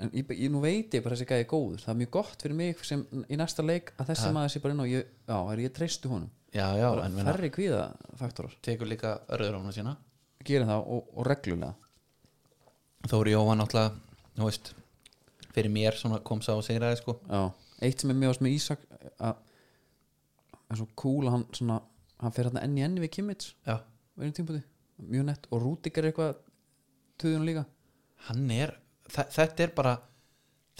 en ég, ég, nú veit ég bara að þessi gæði góður það er mjög gott fyrir mig sem í næsta leik að þessi maður sé bara inn og ég, já, er ég treystu honum já, já bara en minna, færri kvíðafaktorar tekur líka röður á hann sína gerir það og, og reglulega Þóri Jóhann alltaf, þú veist fyrir mér svona kom sá og segraði sko. já. eitt sem er mjög ást með Ísak að það er svo cool að hann, svona, hann fer hérna enn í enni við Kimmits já, á einum tímpúti, mjög nett og Rúdikar er eitthvað töðun líka hann er þa- þetta er bara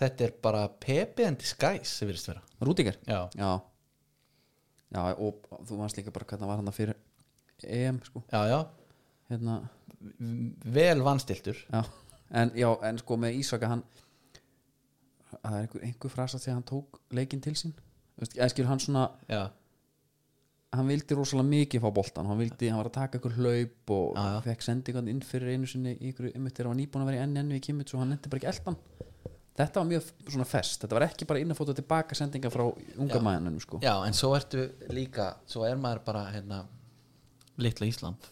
þetta er bara Pepe and Disguise sem virðist vera Rúdikar? já, Já Já, og þú varst líka bara hvernig var hann það fyrir EM sko, já, já, hérna V- vel vanstiltur já. En, já, en sko með Ísaka hann það er einhver, einhver frasa þegar hann tók leikinn til sín Vist, eða skil hann svona, já, hann vildi rosalega mikið fá boltan, hann vildi, hann var að taka ykkur hlaup og Já, já, já. fekk sendingan inn fyrir einu sinni í ykkur um þegar hann var nýbúin að vera í NN við Kimmits og hann nefndi bara ekki eldan þetta var mjög svona fest, þetta var ekki bara inn að fóta tilbaka sendinga frá unga mæðanum sko. já, en svo ertu líka svo er maður bara hérna litla Ísland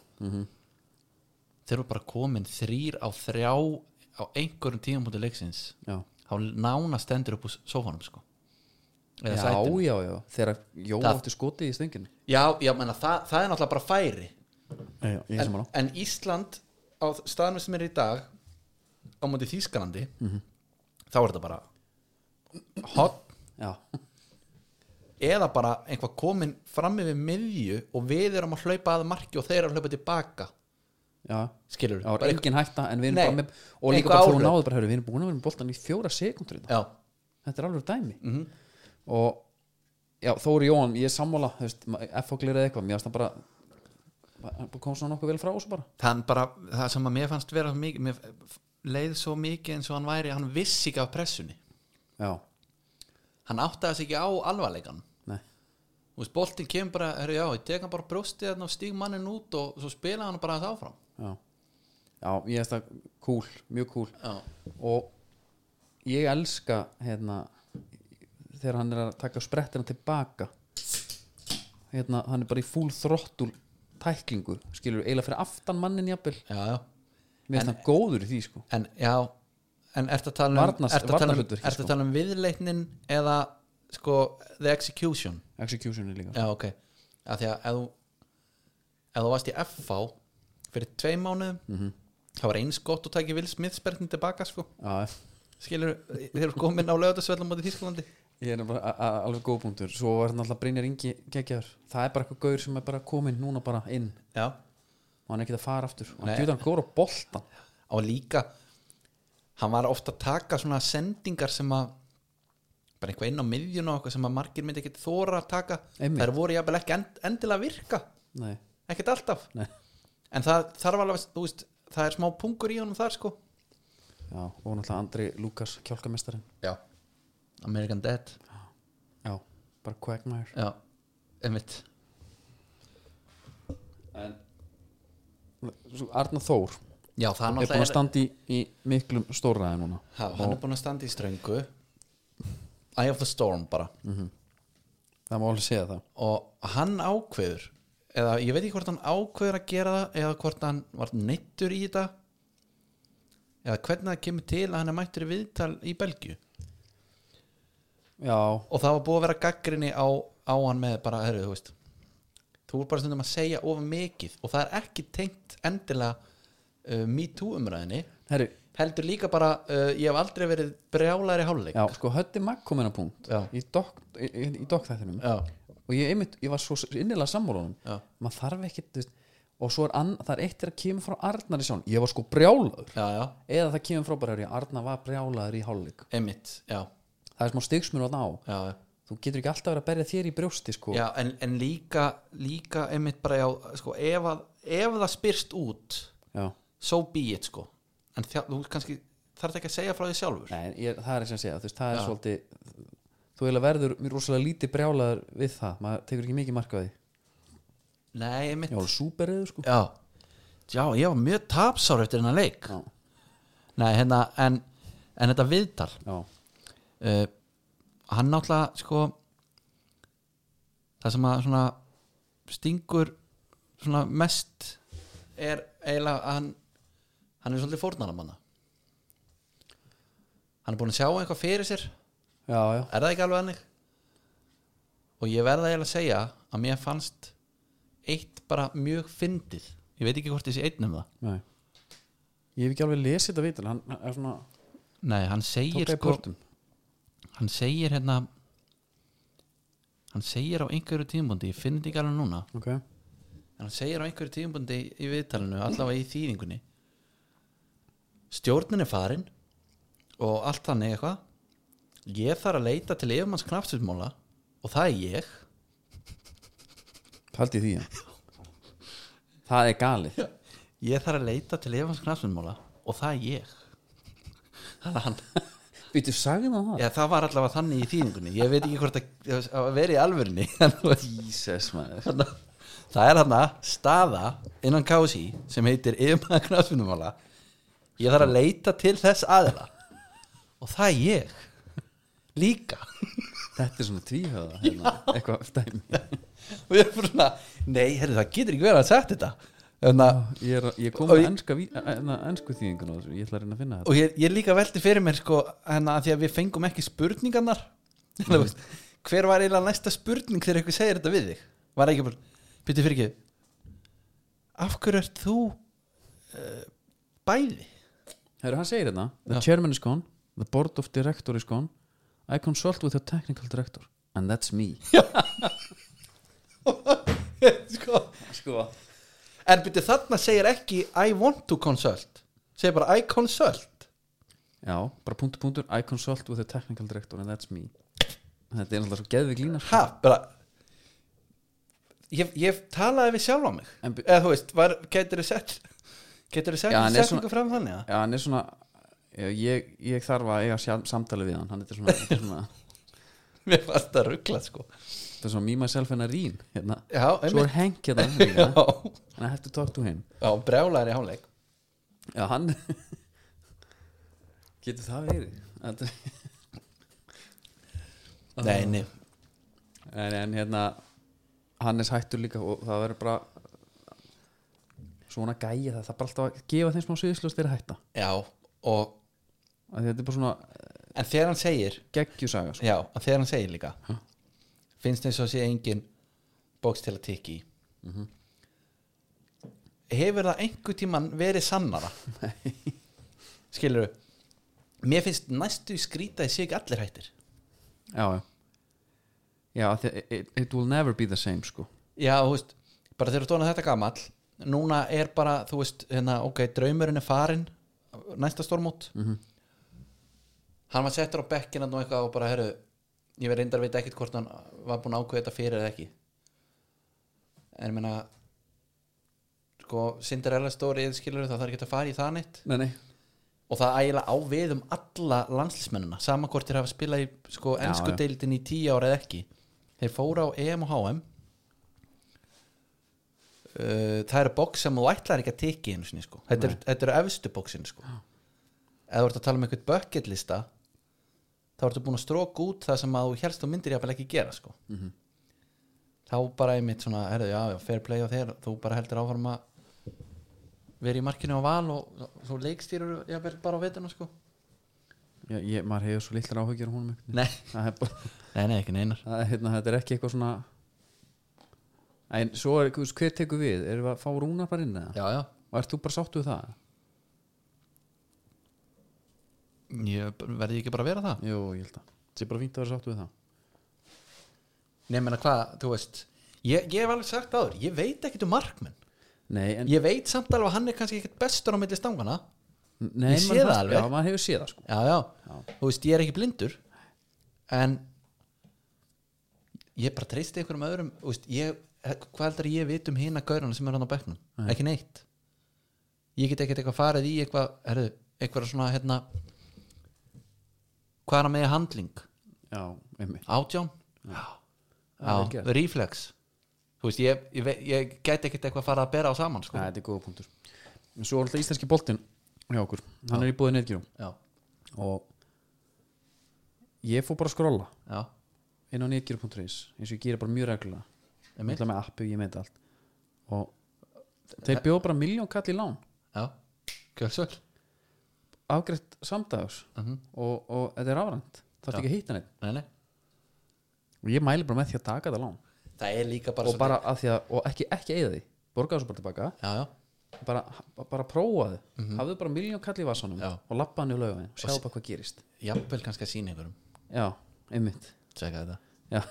þeir eru bara komin þrýr á þrjá á einhverjum tíðanbúti leiksins já, þá nána stendur upp úr sófanum sko já, Eða já, sætinu. já, þegar Jó Það- átti skotið í stönginu já, já menna, það, það er náttúrulega bara færi já, ég en, en Ísland á staðanum sem er í dag á móti Þýskalandi þá er þetta bara hot já, eða bara einhvað komin fram yfir miðju og við erum að hlaupa að marki og þeir eru að hlaupa tilbaka já, skilur það var engin hætta en við erum Nei, bara með, og líka eitthvað bara þú áhlaup. náðu bara, heyrðu, við erum búin að vera með boltan í fjóra sekundur já, þetta er alveg dæmi -hmm. og já, Þóri Jóhann, ég er sammála þú veist, F-foglir eða eitthvað, mér varst það bara bara- kom svona nokkuð vel frá þessu bara þann bara það sem að mér fannst vera svo mikið mér leið svo mikið eins og hann væri hann vissi ekki af pressunni já, hann áttaði sig ekki á alvarleikan nei, þú veist, boltin kemur bara, herru já, ég tek hann bara brjóstið þarna og stíg mannin út og svo spila hann bara þess áfram já já, ég veist það cool, mjög cool já, og ég elska hérna þegar hann er að taka sprettina tilbaka hérna, hann er bara í full þrottul tæklingu, skilur, eiginlega fyrir aftan mannin jafnvel, já, já mér finnst hann góður í því sko En já, en ertu að tala um, Varnas- ertu að tala um, varnarhlutverki, ertu að tala um viðleitnin eða sko the execution executioni líka Já, ok Af því að ef þú, ef þú varst í FV fyrir tvei mánuðum Mhm. þá var eins gott að taki Will Smith spertni tilbaka sko Já, skilur, þeir eru komin á lögatarsvellum á Þísklandi ég er bara a- a- alveg góð punktur svo var hann alltaf Brynjar Ingi geggjaður það er bara eitthvað gaur sem er bara kominn núna bara inn Já, og hann er ekki að fara aftur og hann Nei. djúðan hann góður á boltan og líka hann var ofta að taka svona sendingar sem að bara eitthvað inn á miðjun og eitthvað sem að margir myndi ekkit þóra að taka Einmitt. þær voru jafnvel ekki end, endilega að virka nei, ekkert alltaf nei en það þarf alveg, þú veist, það er smá pungur í honum þar sko Já, og náttúrulega Andri Lukas, kjálkamestarinn já. American Dead Já, bara Quagmire já, einmitt en... Svo Arna Þór já, er það er búin að náttúrulega standa í, í miklum stórraði núna Já, hann er búin að standa í ströngu Eye of the Storm bara Það má alveg segja það og hann ákveður eða ég veit ekki hvort hann ákveður að gera það eða hvort hann var neittur í þetta eða hvernig það kemur til að hann er mættur í viðtal í Belgju Já, og það var búið að vera gaggrinni á, á hann með bara, herru, þú veist þú er bara stundum að segja ofan mikið og það er ekki tengt endilega uh, me too umræðinni herri, heldur líka bara, uh, ég hef aldrei verið brjálæri hálfleik já, sko Höddi Magg kom inn á punkt Já. í dokk í, í, í dokk þættinum Já, og ég, einmitt, ég var svo innilega sammálunum Já. maður þarf ekki, þú veist og svo er ann, það er eitt er að kemur frá Arnari sjón ég var sko brjálaður já, já, eða það kemur frá bara, "Herri, Arna var brjálaður í hálfleik einmitt já, það er smá stigsmur á þá já, já þú getur ekki alltaf verið að berja þér í brjósti sko. Já, en, en líka, líka einmitt bara já, sko, ef, að, ef það spyrst út Já. so be it, sko en þjá, þú kannski þarf ekki að segja frá því sjálfur Nei, en ég, það er sem að segja þú veist, það er svolítið þú eiginlega verður mér rosalega lítið brjálaður við það maður tekur ekki mikið marka því Nei, einmitt ég var súperriður sko Já, já ég var mjög tapsár eftir hennar leik Já. Nei, hérna, en, en þetta viðtal Já. uh, hann náttúrulega sko það sem að svona stingur svona mest er eiginlega að hann hann er svolítið fórnarnamanna hann er búin að sjá eitthvað fyrir sér Já, já. er það ekki alveg hannig og ég verða eiginlega að segja að mér fannst eitt bara mjög fyndið ég veit ekki hvort ég sé einn um það Nei. ég hef ekki alveg lesið þetta vital hann hann er svona nei, hann segir sko- tókað í sko- portum hann segir hérna hann segir á einhverju tímbundi ég finn þetta ekki alveg núna okay. en hann segir á einhverju tímbundi í viðtalinu allavega í þýðingunni stjórnin er farin og allt þannig eitthvað ég þarf að leita til yfirmanns knaftsutmála og það er ég Haldi því já. það er galið ég þarf að leita til yfirmanns knaftsutmála og það er ég það er hann Býtu, sagði maður það? Já, það var allavega þannig í þýðingunni ég veit ekki hvort að, að vera í alvörinni Jesus maður Þarna- það er hann að staða innan kási sem heitir yfirmaða knafsvinnumála ég þarf að leita til þess aðila og það er ég líka Þetta er svona tvíhöða hérna, eitthvað dæmi og ég er bara svona, nei, herri, það getur ekki verið að sagt þetta Þannig, að- Ég, er, ég kom Og með ég- enska, ví- hérna, ensku þýðingun á þessu Ég ætla að reyna að finna þetta og ég, ég líka velti fyrir mér sko, hana, að því að við fengum ekki spurningarnar Þú veist, hver var eiginlega næsta spurning þegar eitthvað segir þetta við þig var ekki bara, byrju fyrir ekki af hverju ert þú uh, bæði Herru, hann segir hérna The Já. chairman is gone, the board of director is gone I consult with the technical director and that's me sko Sko En byrju þarna segir ekki I want to consult Segir bara I consult Já, bara punktur punktur I consult with the technical director and that's me Þetta er náttúrulega svo geðvig lína sko. Ha, bara Ég, ég talaði við sjálf á mig En by- Eða þú veist, var, getur þið sett Getur þið sett Já, ja, hann er setningu svona- fram þannig að Já, hann er svona já, ég, ég þarf að eiga sjálf, samtali við hann Hann er svona, þetta er svona, Mér fannst það ruggla sko þetta er svona me, myself and Irene hérna. Já, Svo einmitt er Henk hérna Já, líka. And I have to talk to him já brjálæri hálfleik Já, hann Getur það verið? Þetta Nei, nei, en, en hérna Hannes hættur líka og það verður bara svona gæja það það er bara alltaf að gefa þeim smá sviðslust þeirra hætta já og, að þetta er bara svona En þegar hann segir geggjusaga sko. Já, og þegar hann segir líka finnst eins og sé engin bóks til að tiki í Hefur það einhver tíman verið sannara? Nei Skilur Mér finnst næstu skrýta ég sé ekki allir hættir já, já já, af því að it, it will never be the same sko. Já, þú veist, bara þegar þú tóna þetta gamall Núna er bara, þú veist, hérna, ok, draumurinn er farinn næsta stormót Mhm. Hann var settur á bekkina og eitthvað og bara, herru, ég verð reyndar að vita ekkert hvort hann var búin að ákveða þetta fyrir eða ekki en ég meina sko Cinderella story skilur það þarf ekki að fara í það neitt Nei, nei, og það ægilega á við um alla landslismennina sama hvort þeir hafa spilað í sko Já, ennsku já. deildin í tíu ára eða ekki þeir fóra á EM og HM uh, það eru boks sem þú ætlar ekki að teki einu sinni sko þetta eru- þetta eru efstu bóksin sko eða þú ert að tala um einhvern bucket lista þá ertu búin að stróka út það sem að þú helst þú myndir jáfnvel ekki gera sko Mhm. þá bara einmitt svona herðu, já, já, fair play á þér þú bara heldur áfram að verið í markinu á val og svo leikstýrur jafnvel bara á veturna sko ég, ég, maður hefur svo litlar áhugjur á honum einhvern veginn. Nei, það er, bara, nei, nei ekki neinar það er, hérna, þetta er ekki eitthvað svona en svo er, þú veist, hver tekur við erum við að fá rúnar bara inn eða Já, já og ert þú bara sáttu við það? Ég verði ekki bara að vera það Jú, ég held að það er bara fínt að vera sáttu við það Nei, menna hvað, þú veist Ég, ég hef alveg sagt áður, ég veit ekkit um markmenn nei, en, Ég veit samt alveg að hann er kannski ekkit bestur á milli stangana nei, ég sé maður- það alveg. já, maður hefur séð það sko já, já, Já. þú veist, ég er ekki blindur en ég bara treysti einhverjum öðrum þú veist, ég, eh, hvað heldur ég veit um hina gaurana sem er hann á bekknum, Nei. ekki neitt ég get ekkert eitthvað farið í eitthvað, herðu, eitthvað svona hérna hvað er hann með handling já, einmitt átján já, Það er vel já, gert. reflex þú veist, ég, ég, veit- ég get ekkert eitthvað farið að bera á saman, Nei, sko þetta er góða punktur En Svo er alltaf íslenski boltinn hjá okkur Hann er í búið neittgjörum já, Og ég fór bara að skrolla já, inn á neittgjörum.is eins og ég gera bara mjög reglulega Ég einmitt, ætla með appi og ég meita allt Og þeir bjóða bara miljón kall í lán já kjölsöld Afgreitt samdags uh og, og þetta er afrænt Það er Já. ekki að hýta neitt nei, nei. Og ég mæli bara með því að taka þetta lán það er líka bara Og bara að því að, og ekki, ekki eigða því Borgaðu svo bara tilbaka já, já Bara, bara prófaðu Hafðu bara miljón kall í vassanum Mhm. Já. Og lappa hann í laugavegin Og sjáðu bara hvað gerist jafnvel kannski að sína einhverjum Já, einmitt tjekka þetta Já,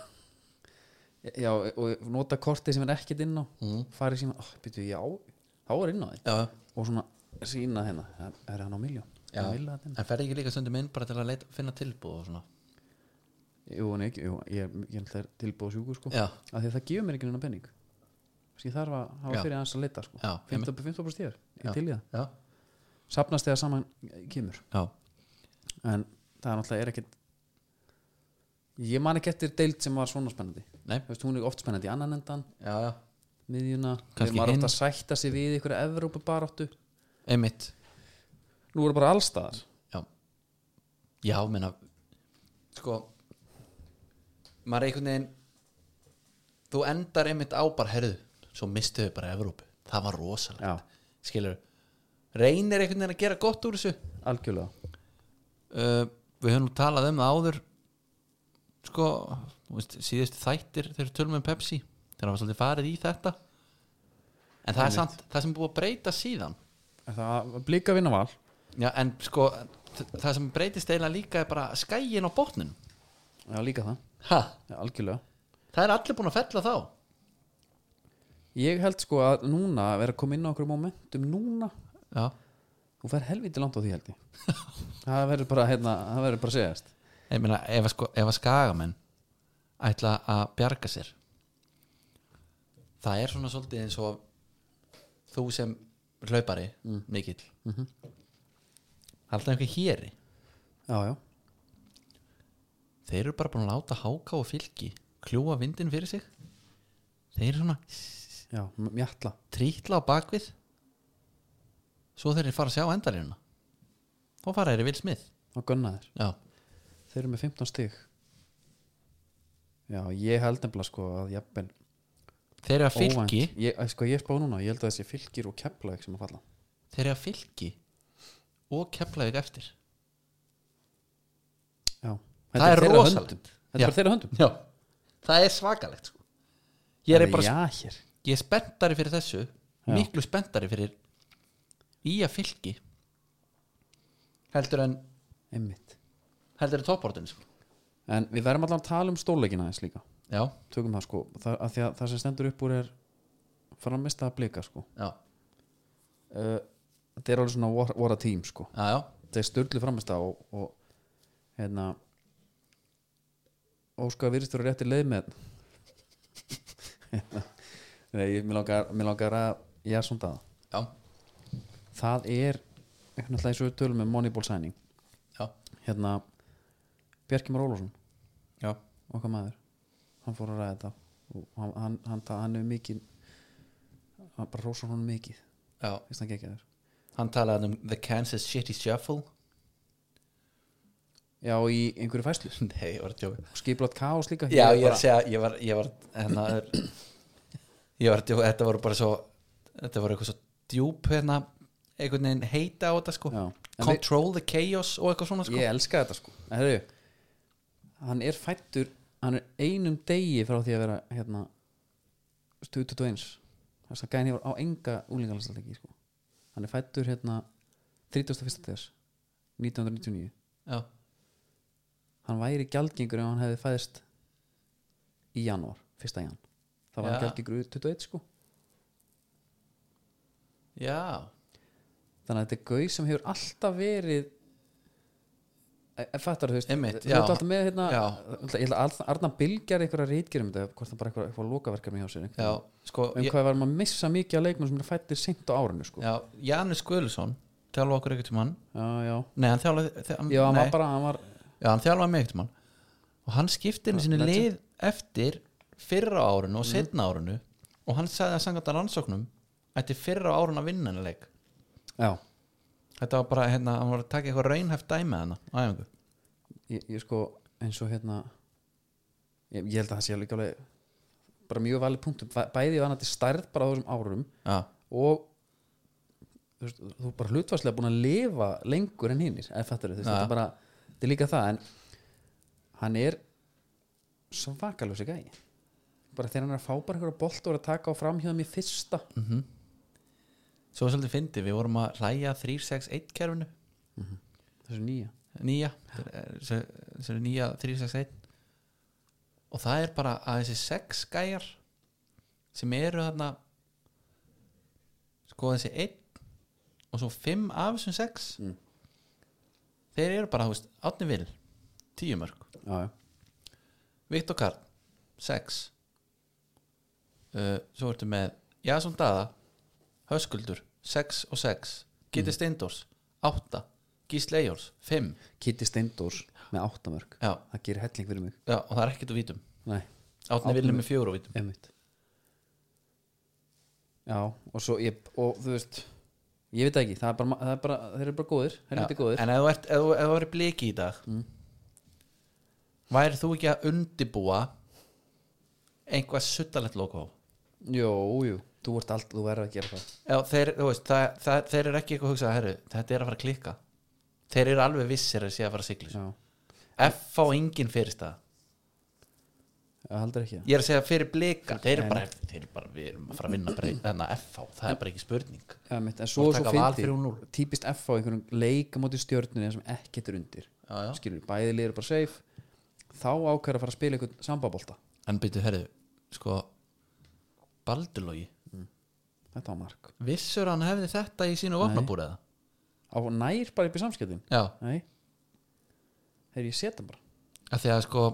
já og nota kortið sem er ekkert inn á Mm. fara í síma, oh, byrju, já þá er inn á því já, og svona sína hérna, það er hann á miljón já. Hann vill að þetta inn. en ferði ekki líka stundum inn bara til að leita, finna tilbúð og svona Jú, en ekki, jú, ég, ég ætla er tilbúið sjúkur sko, já, af því að það gefur mér ekki nýna penning Þessi, ég þarf að hafa Já. fyrir aðeins að leita sko. Já, 15% 15% ég er, Já. ég til í það já, safnast þegar saman kemur já, en það er náttúrulega er ekkert ég man ekki eftir deild sem var svona spennandi Nei. Þú veist, hún er oft spennandi í annan endan já, já. miðjuna Kannski Kanski maður hinn. átt að sætta sig við ykkur Evrópu baráttu einmitt nú eru bara allstaðar já, já, menna sko maður er einhvern veginn þú endar einmitt á bara herðu, svo mistuðu bara Evrópu það var rosalega, já, skilur reynir einhvern veginn að gera gott úr þessu algjörlega uh, við höfum nú talað um það áður sko þú veist, síðustu þættir þegar við tölum um Pepsi þegar það var svolítið farið í þetta en það er samt, það sem er búið að breyta síðan Er það blika vinna val já, en sko þ- það sem breytist eiginlega líka er bara skæin á botnin já, líka það, ha, já, algjörlega það er allir búin að fella þá ég held sko að núna vera að koma inn á okkur momentum núna já, þú fer helviti langt á því held ég það verður bara, hérna, það verður bara segjast ég meina ef að, sko, ef að skagamenn ætla að bjarga sér það er svona svolítið eins og þú sem hlaupari mikill það er alltaf einhver héri já, já, þeir eru bara búin að láta háká og fylki kljúa vindin fyrir sig þeir eru svona já, mjalla trítla á bakvið svo þeir eru fara að sjá endarina þá fara þeir í vilsmið og gunna þér já, þeir eru með 15 stig já, ég held nefnilega sko að jafnvel þeir eru að fylki óvænt- ég, sko ég spá núna, ég held að þessi fylgir og kepla sem að falla þeir eru að fylki og kepla þig eftir Já, Það þetta er þeirra rosalegt. höndum. Þetta Já. er bara þeirra höndum já, það er svakalegt sko. ég er Alveg bara já, hér. ég er spenntari fyrir þessu Já. miklu spenntari fyrir í að fylki heldur en Einmitt. heldur en topportin sko. En við verðum allan að tala um stórleikina eins líka já, Tökum það sko það, að að það sem stendur upp úr er framist að blika sko já, uh, Þetta er alveg svona what, what a team sko já, já Þetta er störlu framist að og, og hérna Óskar virðist vera rétti leið með Hérna, Nei, ég- mér langar, mér langar að ég er svona það já, það er einhvern veginn þessu tölum með Moneyball sæning já, hérna Bjarki Már Ólafsson, já, okkar maður hann fór að ræða þetta og hann, hann, hann, ta- hann er mikið hann bara rósa honum mikið já. fyrst hann gekk að þér hann talaði um the Kansas City Shuffle já, í einhverju fæslu nei, ég var að tjóka og skiplat kaos líka já, Ég ég var bara- að segja, ég var, ég var hérna, er- ég var að tjóka, þetta voru bara svo þetta voru eitthvað svo djúp hérna, einhvern veginn heita á þetta sko Já. En við- control the chaos og eitthvað svona sko ég elska þetta sko En Herru, hann er fættur hann er einum degi frá því að vera hérna stu 21 þess að gæðin hefur á enga úlingalandsaldegi sko. hann er fættur hérna 31. des 1999 já, hann væri gjaldgengur ef hann hefði fæðist í janúar, 1. jan það var hann Já. gjaldgengur 21 sko já, þannig að þetta er gauð sem hefur alltaf verið e, fattar þú veist Einmitt, þú já. ert alltaf með hérna Já. ég held að Arna Bilgjar einhverja reitgerum um þetta hvort það bara eitthvað, eitthvað lokaverkefni hjá sér einhvern já, veginn. sko um ég- hvað var maður að missa mikið að leikmenn sem er fættir seint á árinu sko já, já, Janus Guðlusson þjálfa okkur ekkert um hann já, nei, hann þjálfa, þjálfa, já hann Mm, nei, var bara hann var, já, hann þjálfa mig ekkert um hann og hann skipti henni sinni Legend. Mhm. lið eftir fyrra árinu og setna árinu og hann sagði að sangað að rannsóknum ætti fyrra árinu að vinna henni leik já, þetta var bara, hérna, hann var að taka eitthvað raunhæft dæmi hana, æfingu ég, ég sko eins og hérna ég, ég held að það sé líka alveg bara mjög valið punktum, Bæ- bæði var hann til stærð bara á þessum árum já, og þú, veist, þú er bara hlutfarslega búin að lifa lengur en hinnir eða fattur þú veist, Ja. þetta er bara þetta er líka það en hann er svakalösi gæi bara þegar hann er að fá bara einhverja bolt og er að taka á framhjóðum í fyrsta Mhm. svo var svolítið fyndi við vorum að hlæja 361 kerfinu þessu nýja nýja þessu nýja 361 og það er bara að þessi sex gæjar sem eru þarna sko þessi einn og svo fimm af þessum sex Mm. þeir eru bara, þú veist, átni vil tíu mörg, já, já. Viktor Karl sex uh, svo ertu með Jason Dada Höskuldur, sex og sex Gitti Steindors, átta Gísli Eyjórs, fimm Kitty Steindors með áttamörk Já, það gerir helling fyrir mig já, og það er ekkert úr vítum nei, Átni Árni Vilni með fjóru úr vítum einmitt já, og svo ég og þú veist, ég veit það ekki það er bara, það er bara, þeir eru bara góðir þeir eru góðir En ef þú, ert, ef, þú- ef þú verið bliki í dag mm. Væri þú ekki að undibúa einhvað suttalegt logo jú, jú, þú ert allt, þú verður að gera það Já, þeir, þú veist, það, það, þeir eru ekki eitthvað að hugsa herru, þetta er að fara að klikka Þeir eru alveg vissir að sé að fara að sigla já þessu. F fá enginn fyrir það Það heldur ekki það Ég er að segja fyrir blika Þeir eru Nei, bara, þeir eru bara, við erum að fara að vinna breyð Þannig að F fá, það er bara ekki spurning Já, mitt, en svo Þú ert svo að taka Val fyndi 3-0. típist F á einhverjum leikamóti stjörnunni sem ekkert er undir Já, já skilur, bæði liður bara safe þá ákveður að fara að spila einhvern sambabólta En byrju, herru, sko Baldurlogi þetta á mark, Vissur hann hefði þetta í sínu vopnabúriða? á nær bara upp í samskiptin Já, nei þegar ég setja bara af því að sko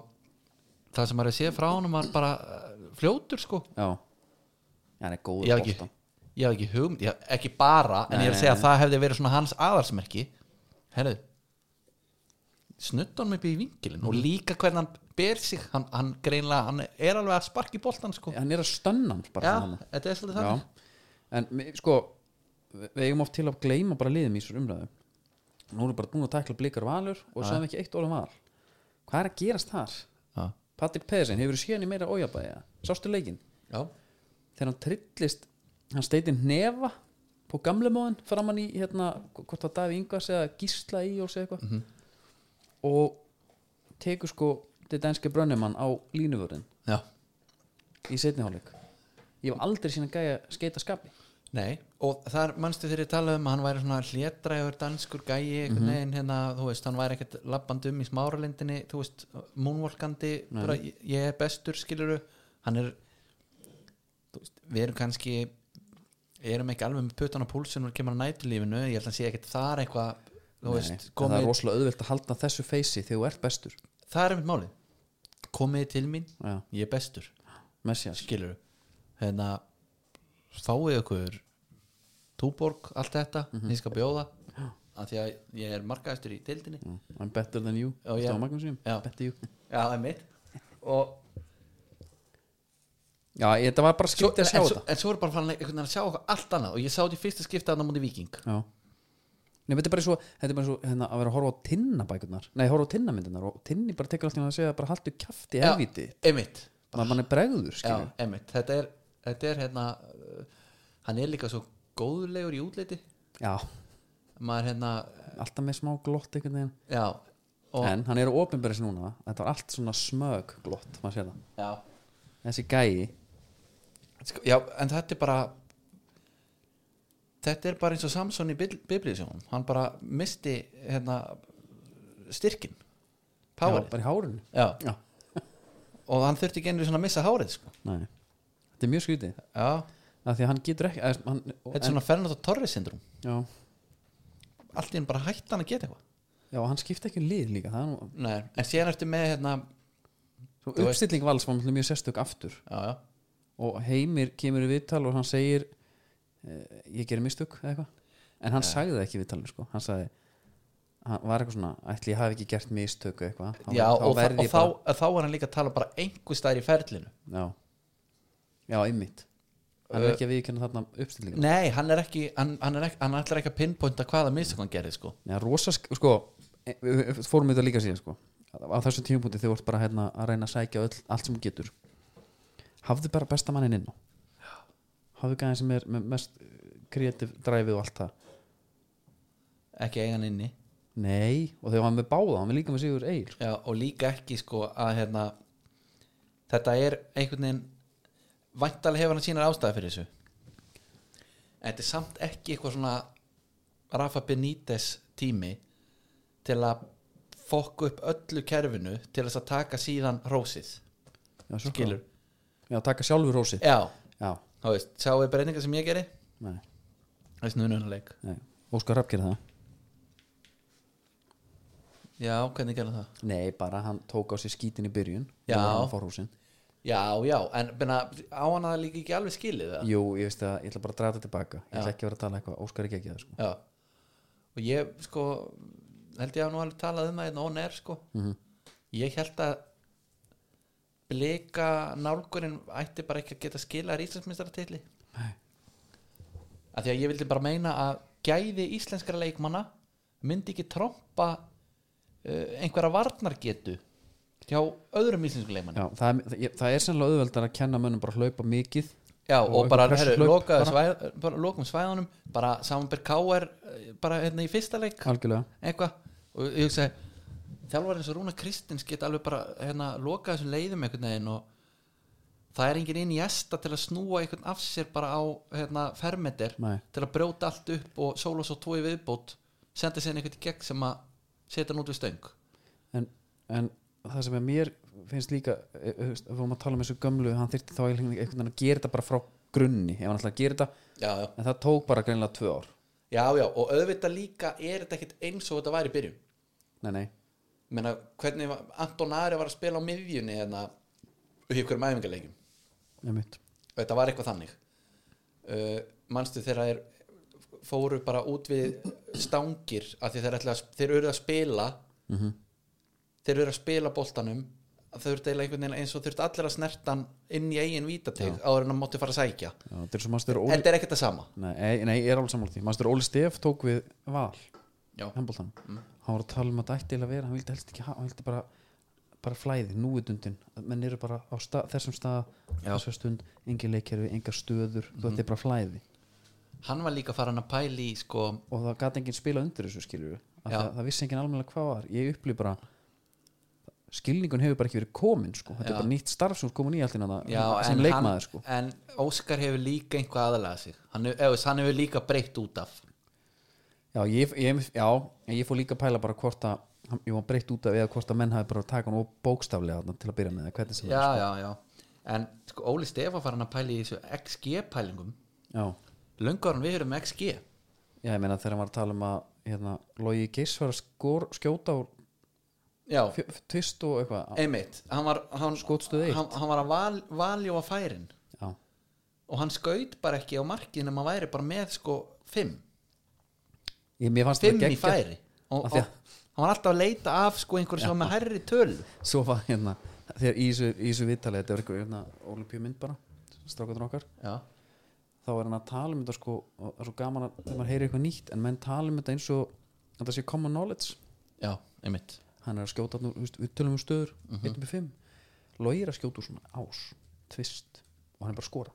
það sem maður er séð frá hann var bara uh, fljótur sko já, já hann er góður ég hef ekki, bolta ég hef ekki hugmynd, ég hef ekki bara en ég er að segja að það hefði verið svona hans aðarsmerki herðu snutt hann upp í vingilin og líka hvernig hann ber sig hann, hann greinlega, hann er alveg að sparki boltan sko já, hann er að stönna hans bara svona hana. þetta er svolítið þannig já. en mi- sko við við eigum oft til að gleyma bara liðum í þessar umræðu nú erum við bara búin að tækla blikar og valur og svo hefum ekki eitt orðum val hvað er að gerast þar? já, Patrik Pedersen, hefur séð hann í meira ójabæja sástu leikinn, já, þegar hann trillist hann steitir nefa på gamlemóðin framann í hérna hvort það Davi Ingvars eða Gísla í og segja eitthvað Mhm. og tekur sko þetta enski brönnumann á línuvörðin já. í setniháleik ég hef aldrei sína gæja skeita skapi Nei, og þar mannstu þegar ég talaði um að hann væri svona hlétræður danskur gæi Mhm. einhvern veginn hérna, þú veist, hann væri ekkert labbandi um í smáralindinni, þú veist múnvolkandi, bara ég ég er bestur skiluru, hann er þú veist, við erum kannski erum ekki alveg með putan á púlsun og kemur að nætulífinu, ég held að hann sé ekkert þar eitthvað, þú Nei, veist, en það komið er rosalega auðvelt að halda þessu feysi þegar þú ert bestur það er einmitt málið komið til mín, já, ég er bestur Messias skilur hérna fáið ykkur túborg, allt þetta, Mhm. ég skal bjóða af því að ég er markaðistur í deildinni Já, Mm, I'm better than you Já, já. Stá Magnússon, Já. better you já, það er mitt og Já, ég- þetta var bara svo, skipt en, að sjá en, svo, þetta en svo er bara farin einhvern veginn að sjá okkur allt annað og ég sá þetta í fyrsta skipta annar múti viking Já Nei, þetta er bara svo, þetta er bara svo hérna, að vera að horfa á tinnabækurnar Nei, horfa á tinnamyndunar og tinni bara tekur allt í hann að segja bara haltu kjafti Já. helviti einmitt, Maður mann er bregður, já, skilju einmitt. Þetta, er, þetta er hérna uh, hann er líka svo góðulegur í útliti Já, maður hérna, alltaf með smá glott einhvern veginn já og, En hann er á opinberis núna Þetta var allt svona smög glott, maður sér það já Þessi gæi Sko, Já, en þetta er bara þetta er bara eins og Samson í biblíðsjónum, hann bara misti hérna styrkin, Já, powerið bara í hárinu já. Já, og hann þurfti ekki einu svona að missa hárið sko. nei Þetta er mjög skrítið já, af Því að hann getur ekki eða, hann, þetta er svona Fernando Torres syndrum, já, allt í enn bara hætti hann að geta eitthvað já, og hann skipti ekki um lið líka Það er nú Nei, en síðan ertu með hérna, Svo Þú veist- uppstilling vals var náttúrulega mjög sérstök aftur já, já, og Heimir kemur í viðtal og hann segir eh, ég gerir mistök eða eitthvað en hann sagði það ekki í viðtalinu sko hann sagði hann var eitthvað svona ætli ég hafi ekki gert mistök eða eitthvað þá, já og, þa- verð og ég þá, þá er hann líka að tala bara einhver stær í ferlinu bara, já já einmitt hann Ö- er ekki að viðkynna þarna uppstillinga Nei, hann er ekki, hann, hann er ekki hann ætlar ekki að pinpointa hvaða mistök hann gerði sko. Já, rosa, sk- sko, e- við við fórum þetta líka síðan, sko að- á þessum tímapunkti þegar þú ert bara hérna, að reyna að sækja öll, allt sem þú getur hafðu bara besta mannin inn á hafðu gæðin sem er með mest kreatív dræfið og allt það ekki eiga hann inni nei, og þegar hann var með báða, hann var líka með sko. Sigur Eir Já, og líka ekki sko að hérna, þetta er einhvern veginn væntalega hefur hann sínar ástæði fyrir þessu en þetta er samt ekki eitthvað svona Rafa Benítez tími til að fokku upp öllu kerfinu til þess að taka síðan rósið já, svo skilur, hvað. já, taka sjálfur rósið já, já, þá veist, sjáu við breyninga sem ég geri nei, það er snuðnunuleik nei, Óskar Rapp gerir það já, hvernig gerði það? nei, bara hann tók á sér skítin í byrjun Já. já já, já, en bena, á hann að líka ekki alveg skilið það jú, ég veist að, ég ætla bara að draga þetta tilbaka ég ætla ekki að vera að tala eitthvað, Óskar er ekki að geða, sko Já Og ég sko held ég að nú alveg talað um það einn on air sko Mhm. -hmm. Ég held að blika nálgurinn ætti bara ekki að geta skila Íslandsmyndstaratill Nei. Af því að ég vildi bara meina að gæði íslenskara leikmanna myndi ekki trompa uh, einhverja varnargetu hjá öðrum íslensku leikmanni Já, það, er- það, ég- það er sennilega auðveldar að kenna mönnum bara að hlaupa mikið Já, og, Og bara, einhver herru, pressuhlaup lokaðu bara. svæð, bara lokum svæðunum bara samanberg K.R. eh, bara hérna í fyrsta leik algjörlega eitthvað og ég hugsaði þjálfari eins og Rúna Kristins geta alveg bara hérna, lokað þessum leiðum einhvern veginn og það er enginn inn í esta til að snúa einhvern af sér bara á hérna, fermetir Nei. til að brjóta allt upp og sóla svo tói viðbót senda sér einhvern í gegn sem að setja hann út við stöng en, en það sem er mér finnst líka, e, e, þú veist, ef við varum að tala um þessu gömlu hann þyrfti þá einhvern veginn að gera þetta bara frá grunni, ef hann ætlaði að gera þetta já, já. en það tók bara greinlega tvö ár já, já, og auðvitað líka er þetta ekkert eins og þetta væri í byrjun nei, nei, Ég meina, hvernig var- Anton Ari var að spila á miðjunni hérna, í ykkurum æfingarleikjum einmitt og þetta var eitthvað þannig uh, manstu þegar þeir fóru bara út við stangir að þeir, ætla, að- þeir eru að spila þeir eru að spila boltanum að þau eru deila einhvern veginn eins og þurft allir að snerta hann inn í eigin vítateg áður en hann mátti fara að sækja Já, þetta er svo mannstu Óli þetta er ekkert það sama nei, nei, ég er alveg sammála því, mannstu Óli Stef tók við val, já, Mm. hemboltan hann var að tala um að þetta ætti eiginlega að vera hann vildi helst ekki, ha- hann vildi bara bara flæði, núutundin, menn eru bara á stað, þessum stað, Já. Mhm. þessum stund engin leikkerfi, engar stöður, þú ætti bara flæði hann var líka farin að pæli í sko og það gæti enginn spila undir þessu skilur Já. það, það vissi enginn alveg hvað var ég upplýð bara skilningun hefur bara ekki verið komin sko. þetta Já. er bara nýtt starf sem komin í allt innan það já, sem en hann- leikmaður sko. en Óskar hefur líka einhvað aðalega sig hann, hef- eða, þú veist, hann hefur líka breytt út af já, ég, ég, já, en ég fór líka að pæla bara hvort að hann- ég var breytt út af eða hvort að menn hafi bara taka hann og bókstaflega þarna til að byrja með eða hvernig sem já, já, já sko. en sko, Óli Stefa var hann að pæli í þessu XG pælingum það já. löngar hann við höfum XG já, ég meina þegar hann var að tala um að hérna, logi geiss var að skor, skjóta úr já, Fjö- tvist og eitthvað einmitt hann var, hann, Skotstöð eitt. hann, hann var að val, valjóa færin já, og hann skaut bara ekki á markið nema hann væri bara með sko fimm, ég, mér fannst fimm þetta í geggjað. færi Af og, og því að- hann var alltaf að leita af sko einhverju sem var með herri töl svo var hérna þegar í þessu- í þessu viðtalið, þetta var eitthvað hérna, olimpíumynd bara, strákarnir okkar já, þá er hann að tala um þetta sko og það er svo gaman að þegar maður heyri eitthvað nýtt en menn tala um þetta eins og að þetta sé common knowledge já, einmitt hann er að skjóta þarna úr, þú veist, við tölum um stöður Mhm. mm -hmm. 1.5 Logi er að skjóta úr svona ás tvist og hann er bara að skora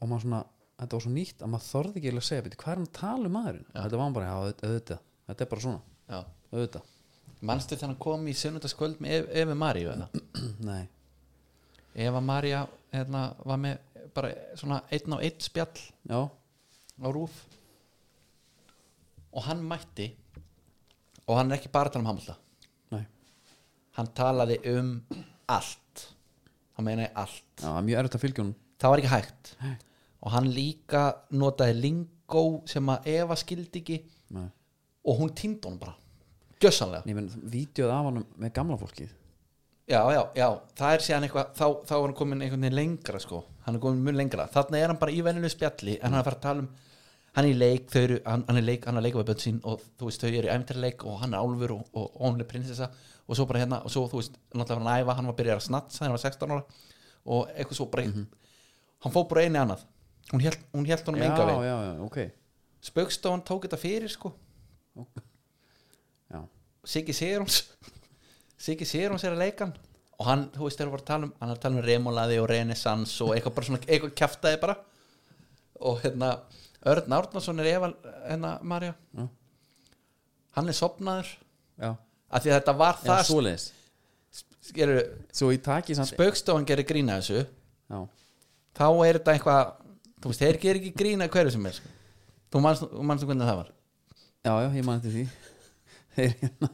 og maður svona þetta var svo nýtt að maður þorði ekki eiginlega að segja "Bíddu, hvað er hann að tala um maðurinn þetta var hann bara, já, auð- auðvitað, þetta er bara svona já. auðvitað, manstu þegar hann kom í sunnudagskvöld með Ev- Evu Maríu eða? nei, Eva Maríu hérna, var með bara svona einn á einn spjall já á rúf og hann mætti og hann er ekki bara að tala um hamla nei, hann talaði um allt hann meina allt já, það er mjög erfitt að fylgja hún það var ekki hægt og hann líka notaði lingó sem að Eva skildi ekki nei, og hún týndi honum bara gjössanlega nei, menn, vídeoð af hann með gamla fólkið já, já, já, það er síðan eitthvað þá, þá er hann komin einhvern veginn lengra sko hann er komin mjög lengra, þarna er hann bara í venjulegu spjalli en hann er að fara að tala um hann er í leik, þau eru, hann, hann er í leik, hann er að leika við bönn sín og þú veist, þau eru í æmterleik og hann er álfur og, og, og hún er prinsessa og svo bara hérna, og svo þú veist, náttúrulega var hann æfa hann var að byrja að snatsa, hann var 16 ára og eitthvað svo bara hann fór bara einu annað, hún held, hún held honum já, enga veginn já, já, ok Spaukstofan tók þetta fyrir sko já, Siggi Sigurjóns Siggi Sigurjóns er að leika hann og hann, þú veist, þegar við varum að tala um hann er að tala um remolaði og renaissance og eitthvað bara svona, eitthvað kjaftaði bara og hérna, Örn Árnason er Eva, hérna, Marja Já. hann er sopnaður já, af því að þetta var já, það svoleiðis gerir, svo í taki samt spaukstofan gerir grína þessu já, þá er þetta eitthvað, þú veist, þeir gerir ekki grína hverju sem er, sko þú manst, þú manst hvernig það var já, já, ég man eftir því þeir hérna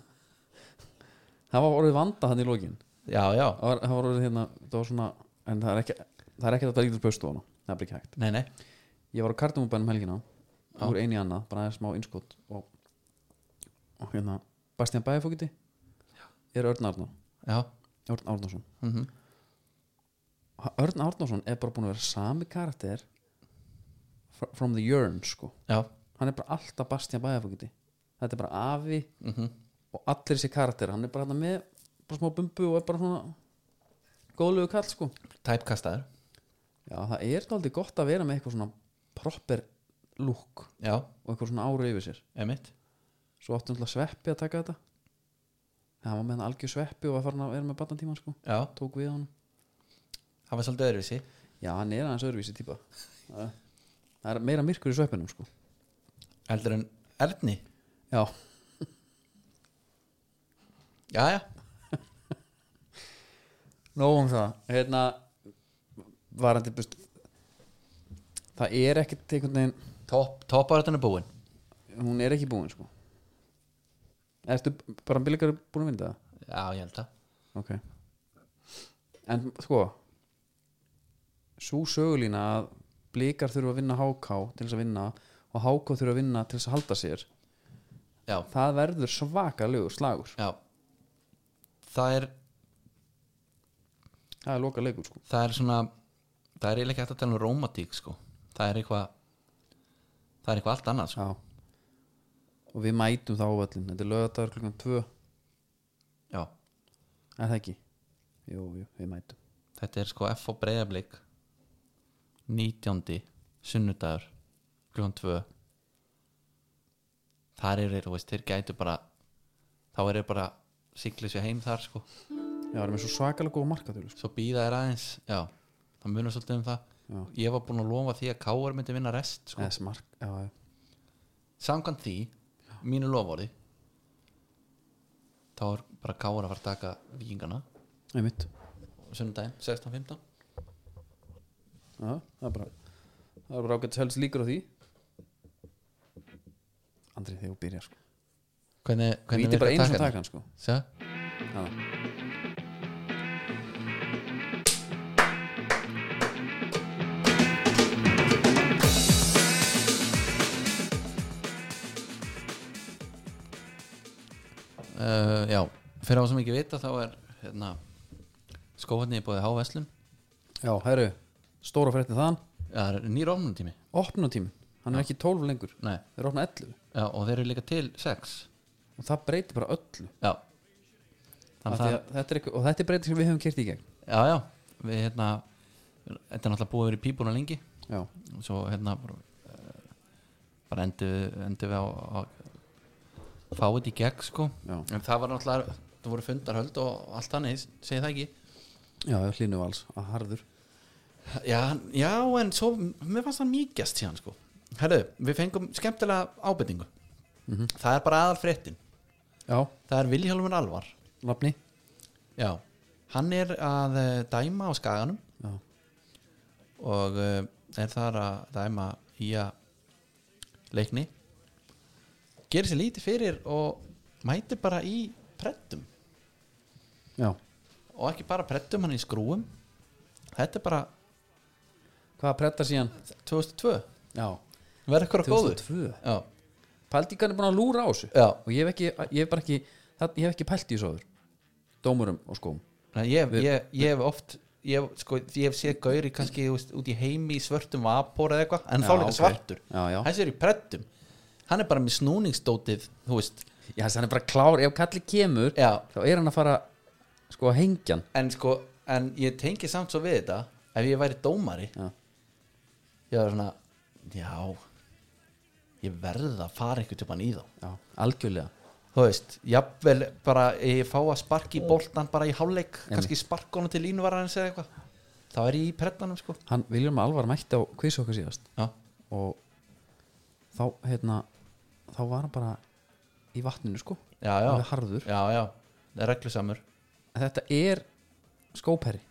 það var orðið vanda hann í lokin já, já, það var, það var orðið hérna, það var svona en það er ekki, það er ekki að það lítur spöstu hana það er bara ekki hægt nei, nei, ég var á kardumubænum helgina úr einu í annað, bara aðeins smá innskot og, og hérna Bastian Bæðifókiti er Örn Arnó, já Örn Árnason mhm Örn Árnason er bara búin að vera sami karakter fr- from the yearn sko já, hann er bara alltaf Bastian Bæðafókiti þetta er bara afi Mhm. og allir þessi karakter, hann er bara hann með bara smá bumbu og er bara svona góðlegu kall sko tæpkastaður já það er aldrei gott að vera með eitthvað svona proper look já, og eitthvað svona ára yfir sér emitt svo áttu náttúrulega sveppi að taka þetta hann var með hann algjör sveppi og var farin að vera með batnatíman sko já, tók við hann, það var svolítið öðruvísi já hann er aðeins öðruvísi típa það er- það er meira myrkur í sveppinum sko heldur en Erni já, já, já, nógum það hérna varandi best, það er ekkert einhvern veginn topp topparöðan er búin hún er ekki búin sko Ertu bara bilgar búin að vinda það? já, ég held það Ok En sko Sú sögulína að blikar þurfa að vinna háká til þess að vinna og háká þurfa að vinna til þess að halda sér já, það verður svakalegur slagur já það er, það er loka leikur sko það er svona það er eiginlega ekki hægt að tala um rómatík sko það er eitthvað það er eitthvað allt annað sko Já. og við mætum þá öllin þetta er lögðardagur klukkan 2 er já, það ekki? Jú, jú, við mætum þetta er sko F og breyðablík 19. sunnudagur klukkan 2 þar eru þeir, þú veist, þeir gætu bara þá eru þeir bara siglið sér heim þar sko Já, það er með svo svakalega góð markatölu sko. svo býða þér aðeins já, það munar svolítið um það Já. ég var búinn að lofa því að Káar myndi vinna rest sko. Eða þessi mark, já, já. samkvæmt því, mínu lofóri þá er bara Káar að fara að taka vikingana einmitt sunnudaginn, 16-15 Já, það er bara það er bara ágætt helst líkur á því Andri þegar þú byrjar sko Hvernig hvernig, hvernig Víti bara einu virkar svona takan? takan sko Sjá? Já, uh, fyrir á sem ekki vita þá er hérna, skófarni í bóði háveslum Já, herru, stóra frétti þaðan það er nýr ofnuntími Opnutíminn, hann er ekki 12 lengur Nei, Þeir opna 11 já, og þeir eru líka til sex og það breytir bara öllu já Af Þannig því það, að þetta er ekki, Og þetta er breytir sem við höfum kert í gegn já, já, við hérna þetta er náttúrulega búið að vera í pípuna lengi Já, og svo hérna bara, eh, bara endur við, endur við á, á fáið í gegn sko já, en það var náttúrulega, það voru fundarhöld og allt þannig, segi það ekki já, hlínu vals að harður já, hann- já, en svo mér fannst hann mýgjast síðan sko herru, við fengum skemmtilega ábendingu það er bara aðal fréttin Já, það er Vilhjálfur Alvar nafni já, hann er að eh, dæma á skaganum Já, og eh, er þar að dæma í að leikni gerir sér lítið fyrir og mætir bara í prettum já og ekki bara prettum, hann er í skrúum þetta er bara Hvað pretta síðan? 2002 Já, verður ykkur að góðu 2002 já, Paldíkan er búin að lúra á þessu já, og ég hef ekki, ég hef bara ekki það, ég hef ekki pælt í þessu áður dómurum og skóm Nei, ég, ég, ég hef oft ég, hef, sko, ég hef séð gauri kannski þú veist, út í heimi í svörtum vapor eða eitthvað en þá Já, líka ok. svartur Já, já. þessi er í prettum hann er bara með snúningsdótið þú veist, Já, þess að hann er bara klár, ef kalli kemur já, þá er hann að fara sko að hengja hann en sko en ég tengi samt svo við þetta ef ég væri dómari Já. ég var svona já ég verð að fara einhvern tímann í þá Já, algjörlega þú veist, jafnvel bara ég fá að sparki í boltan bara í hálfleik kannski sparka honum til línuvararins eða eitthvað þá er ég í prettanum sko Hann Viljum Alvar mætti á kviss okkar síðast já, og þá hérna þá var hann bara í vatninu sko já, já, alveg harður já, já. það er reglusamur En þetta er skóperi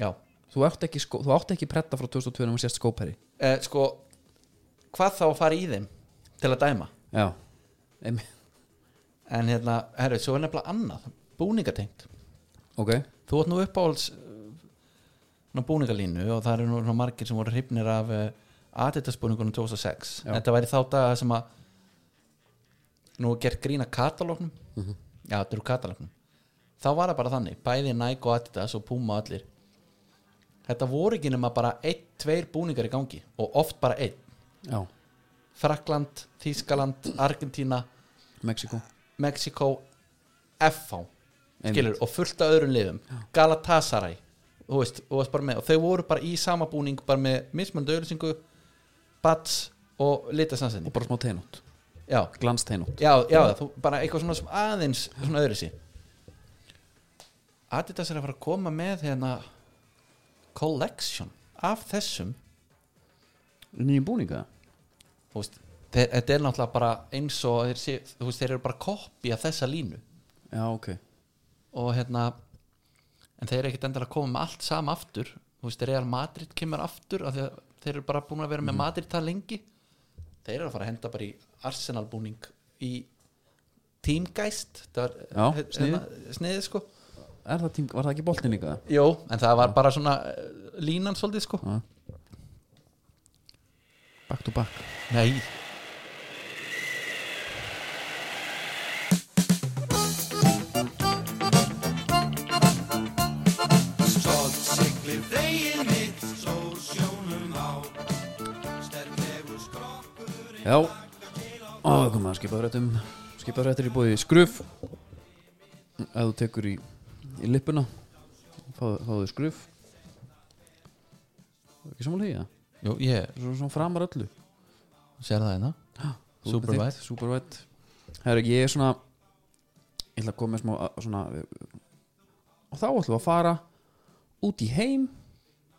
já, þú átt ekki, skó, þú átt ekki pretta frá 2002 en þú sést skóperi eh, sko hvað þá að fara í þeim til að dæma Já, Einmi. en hérna, herru, svo er nefnilega annað búningatengt ok Þú átt nú uppáhalds ná búningalínu og það eru nú svona margir sem voru hrifnir af uh, aðeittaspúningunum 2006 Já. Þetta væri þá daga sem að nú er gert grína katalóknum Já, þetta eru katalóknum Þá var það bara þannig, bæði Nike og Adidas og Puma og allir Þetta voru ekki nema bara einn, tveir búningar í gangi og oft bara einn Já, Frakland, Þískaland, Argentína Mexiko Mexiko FH Einmitt. skilur, og fullt af öðrum liðum Galatasaray þú veist, þú varst bara með, og þau voru bara í samabúning bara með mismunandi auðlýsingu bats og og litastansinni bara smá teinótt, já, glans teinótt já, já, þú, bara eitthvað svona sem aðeins svona öðrisi Adidas er að fara að koma með hérna collection af þessum Nýjum búninga? þú veist, þeir, þetta er náttúrulega bara eins og þeir, sé, þú veist, þeir eru bara koppi af þessa línu Já, ok og hérna en þeir eru ekkit endilega að koma með allt sama aftur þú veist, Real Madrid kemur aftur af því að þeir eru bara búin að vera með Madrid það lengi þeir eru að fara að henda bara í Arsenal búning í tímgæst Já, sniði. sniði eh, sko Er það tím, var það ekki boltin líka? Jó, en það var bara svona eh, línan svolítið sko Já. Back to back Nei Stóð siglir veginn mitt, stóð sjónum á Sterklegur skrokkur Já, og komum að skipaðrættum Skipaðrættir í bóði skruf Ef þú tekur í, í lippuna fá- Fáðu skruf Það er Ekki samanlega í það Jú, ég Svo svona framar öllu sér það hérna Superbite. Supervætt Herra, ég er svona Ég ætla að koma með smá að- svona Og þá ætlum við að fara Út í heim